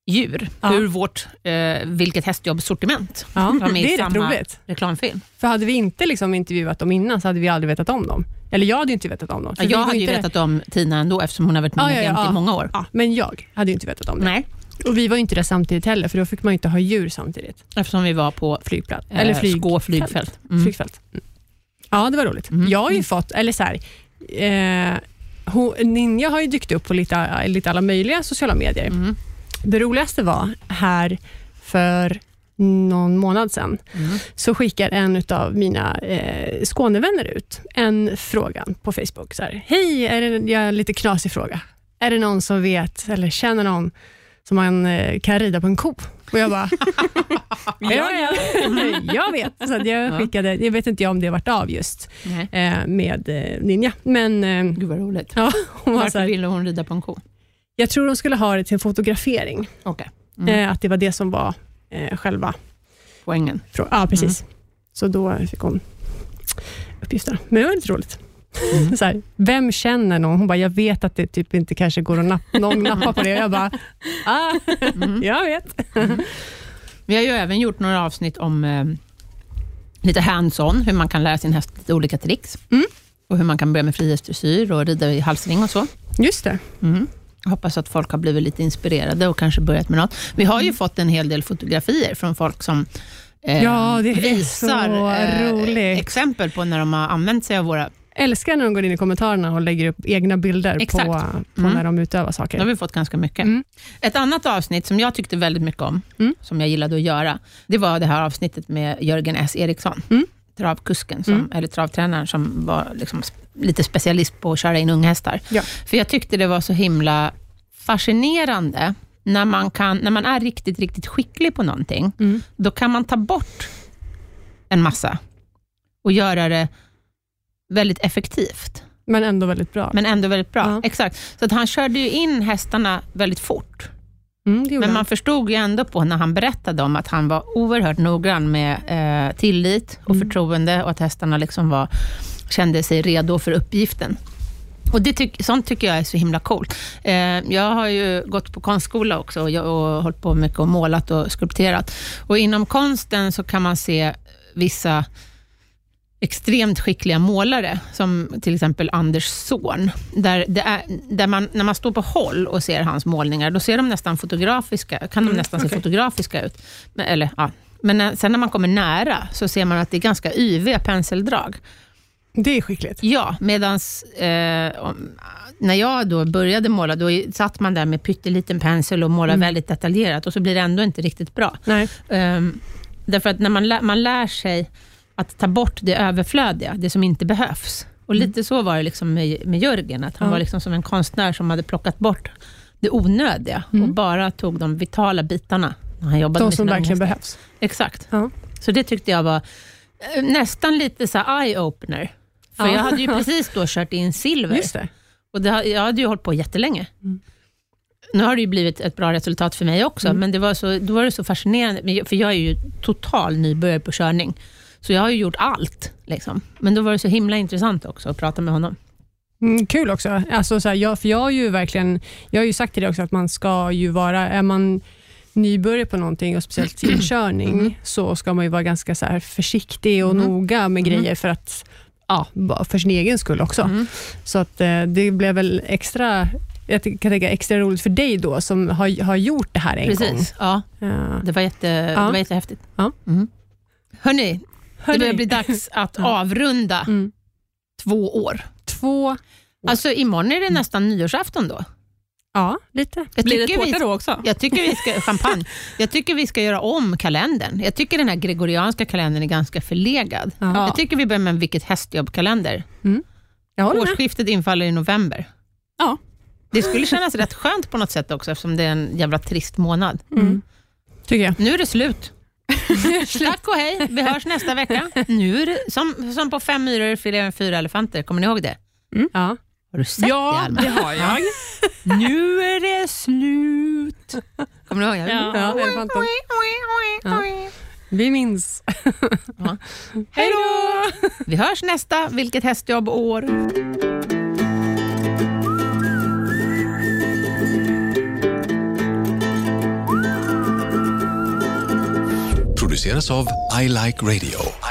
Speaker 4: djur
Speaker 2: Ja.
Speaker 4: ur vårt eh, Vilket hästjobb-sortiment.
Speaker 2: Ja,
Speaker 4: De är i
Speaker 2: det är rätt
Speaker 4: samma-
Speaker 2: roligt.
Speaker 4: Reklamfilm.
Speaker 2: För hade vi inte liksom intervjuat dem innan så hade vi aldrig vetat om dem. Eller jag hade ju inte vetat om dem. för
Speaker 4: Ja,
Speaker 2: vi
Speaker 4: jag
Speaker 2: var
Speaker 4: hade ju
Speaker 2: inte-
Speaker 4: vetat om Tina ändå eftersom hon har varit min
Speaker 2: Ja, ja,
Speaker 4: agent
Speaker 2: ja.
Speaker 4: i många år.
Speaker 2: Ja, men jag hade ju inte vetat om det.
Speaker 4: Nej,
Speaker 2: Och vi var ju inte där samtidigt heller, för då fick man ju inte ha djur samtidigt.
Speaker 4: eftersom vi var på
Speaker 2: Flygplats.
Speaker 4: eh,
Speaker 2: Eller flyg.
Speaker 4: Skå flygfält.
Speaker 2: Mm.
Speaker 4: Mm.
Speaker 2: Flygfält. Mm. Ja, det var roligt. Jag har ju fått, eller så här, eh, hon, Ninja har ju dykt upp på lite, lite alla möjliga sociala medier.
Speaker 4: Mm.
Speaker 2: Det roligaste var här för någon månad sedan,
Speaker 4: Mm.
Speaker 2: så skickar en av mina eh, Skånevänner ut en fråga på Facebook. Så här, Hej, är det, jag har en lite knasig fråga. Är det någon som vet eller känner någon som man eh, kan rida på en ko? Och jag bara, ja, ja. jag vet. Så att jag
Speaker 4: Ja.
Speaker 2: skickade, jag vet inte jag om det vart av just
Speaker 4: Nej.
Speaker 2: eh, med eh, Ninja, men eh,
Speaker 4: Gud vad roligt.
Speaker 2: ja, hon var så
Speaker 4: Varför
Speaker 2: här,
Speaker 4: ville hon rida på en ko?
Speaker 2: jag tror de skulle ha det till en fotografering.
Speaker 4: Okej, Mm.
Speaker 2: Eh, att det var det som var eh, själva
Speaker 4: poängen.
Speaker 2: Frå- Ja, precis. Så då fick hon uppgifterna. Men det var lite roligt.
Speaker 4: Mm.
Speaker 2: Så här, vem känner någon? Hon bara, jag vet att det typ inte kanske går att napp- någon nappa på det. Jag bara, ah, jag vet.
Speaker 4: Mm. Vi har ju även gjort några avsnitt om eh, lite hands-on, hur man kan lära sin häst lite olika tricks.
Speaker 2: Mm.
Speaker 4: Och hur man kan börja med frihetsdressyr och rida i halsring och så.
Speaker 2: Just det.
Speaker 4: Jag hoppas att folk har blivit lite inspirerade och kanske börjat med något. Vi har
Speaker 2: Mm.
Speaker 4: ju fått en hel del fotografier från folk som eh,
Speaker 2: Ja, det är
Speaker 4: visar
Speaker 2: så
Speaker 4: eh,
Speaker 2: roligt.
Speaker 4: exempel på när de har använt sig av våra...
Speaker 2: Älskar när de går in i kommentarerna och lägger upp egna bilder på,
Speaker 4: Exakt.
Speaker 2: på
Speaker 4: Mm.
Speaker 2: när de utövar
Speaker 4: Det har
Speaker 2: saker.
Speaker 4: vi fått ganska mycket.
Speaker 2: Mm.
Speaker 4: Ett annat avsnitt som jag tyckte väldigt mycket om,
Speaker 2: Mm.
Speaker 4: som jag gillade att göra, det var det här avsnittet med Jörgen S. Eriksson,
Speaker 2: Mm.
Speaker 4: travkusken, som,
Speaker 2: Mm.
Speaker 4: eller travtränaren, som var liksom sp- lite specialist på att köra in unghästar.
Speaker 2: Ja.
Speaker 4: För jag tyckte det var så himla fascinerande, när man, kan, när man är riktigt, riktigt skicklig på någonting,
Speaker 2: Mm.
Speaker 4: då kan man ta bort en massa och göra det väldigt effektivt,
Speaker 2: Men ändå väldigt bra.
Speaker 4: men ändå väldigt bra.
Speaker 2: Ja.
Speaker 4: Exakt. Så att han körde ju in hästarna väldigt fort.
Speaker 2: Mm, det gjorde
Speaker 4: Men
Speaker 2: han.
Speaker 4: man förstod ju ändå på när han berättade om att han var oerhört noggrann med eh, tillit och
Speaker 2: Mm.
Speaker 4: förtroende och att hästarna liksom var, kände sig redo för uppgiften. Och det tyck, Sånt tycker jag är så himla coolt. Eh, jag har ju gått på konstskola också och, jag, och hållit på mycket och målat och skulpterat. Och inom konsten så kan man se vissa extremt skickliga målare, som till exempel Anders Zorn. Där det är, där man, när man står på håll och ser hans målningar, då ser de nästan fotografiska, kan de nästan se fotografiska ut. Men, eller, ja. Men när, sen när man kommer nära så ser man att det är ganska yviga penseldrag.
Speaker 2: Det är skickligt.
Speaker 4: Ja, medan eh, om- när jag då började måla, då i- satt man där med pytteliten pensel och målade väldigt detaljerat och så blir det ändå inte riktigt bra.
Speaker 2: Mm. Nej.
Speaker 4: Ehm, därför att när man, lä- man lär sig att ta bort det överflödiga, det som inte behövs. Och lite så var det liksom med, med Jörgen, att han
Speaker 2: Mm. Ja.
Speaker 4: var liksom som en konstnär som hade plockat bort det onödiga och bara tog de vitala bitarna när han jobbade
Speaker 2: Mm. De
Speaker 4: med
Speaker 2: som
Speaker 4: sina
Speaker 2: verkligen
Speaker 4: ångester.
Speaker 2: behövs.
Speaker 4: Exakt.
Speaker 2: Ja.
Speaker 4: Så det tyckte jag var eh, nästan lite så här eye-opener. För
Speaker 2: Ja.
Speaker 4: jag hade ju precis då kört in silver.
Speaker 2: Just det. Mm.
Speaker 4: Och det, har- jag hade ju hållit på jättelänge. Nu har det ju blivit ett bra resultat för mig också, men det var så, då var det så fascinerande. Men jag- För jag är ju total nybörjare på körning, så jag har ju gjort allt. Liksom. Men då var det så himla intressant också att prata med honom.
Speaker 2: Mm, kul också. Alltså, så här, jag, för jag, har ju verkligen, jag har ju sagt till dig också att man ska ju vara, är man nybörjare på någonting och speciellt
Speaker 4: Mm.
Speaker 2: i körning, så ska man ju vara ganska så här försiktig och
Speaker 4: Mm.
Speaker 2: noga med grejer för att ja, bara för sin egen skull också.
Speaker 4: Mm.
Speaker 2: Så att, eh, det blev väl extra jag ty- kan tänka extra roligt för dig då, som har, har gjort det här en gång.
Speaker 4: Precis, ja,
Speaker 2: Ja.
Speaker 4: det var, jätte,
Speaker 2: Ja.
Speaker 4: det var jättehäftigt.
Speaker 2: Ja.
Speaker 4: Mm. Hörni, det börjar
Speaker 2: Hörni,
Speaker 4: bli dags att avrunda
Speaker 2: Mm.
Speaker 4: två år.
Speaker 2: två...
Speaker 4: Alltså imorgon
Speaker 2: Mm.
Speaker 4: är det nästan nyårsafton då.
Speaker 2: Ja, lite.
Speaker 4: Jag
Speaker 3: Blir det
Speaker 4: tycker vi
Speaker 3: tårta då också?
Speaker 4: Jag tycker vi ska, champagne. Jag tycker vi ska göra om kalendern. Jag tycker den här gregorianska kalendern är ganska förlegad.
Speaker 2: Ja.
Speaker 4: Jag tycker vi börjar med en Vilket hästjobb-kalender.
Speaker 2: Jag håller med.
Speaker 4: Årsskiftet infaller i november.
Speaker 3: Ja.
Speaker 4: Det skulle kännas rätt
Speaker 2: Mm.
Speaker 4: skönt på något sätt också, eftersom det är en jävla trist månad.
Speaker 2: Tycker jag.
Speaker 4: Nu är det slut. Tack och hej, vi hörs nästa vecka. Nu är det, som, som på fem myror är det fyra elefanter, kommer ni ihåg det?
Speaker 2: Ja.
Speaker 4: Har du sett det
Speaker 3: Ja,
Speaker 4: Alma?
Speaker 3: det har jag.
Speaker 4: Nu är det slut. Kommer du ihåg? det?
Speaker 2: Ja, elefanten. Ja. Vi minns.
Speaker 4: Hej då! Vi hörs nästa, vilket hästjobb och år.
Speaker 8: produceras av I Like Radio.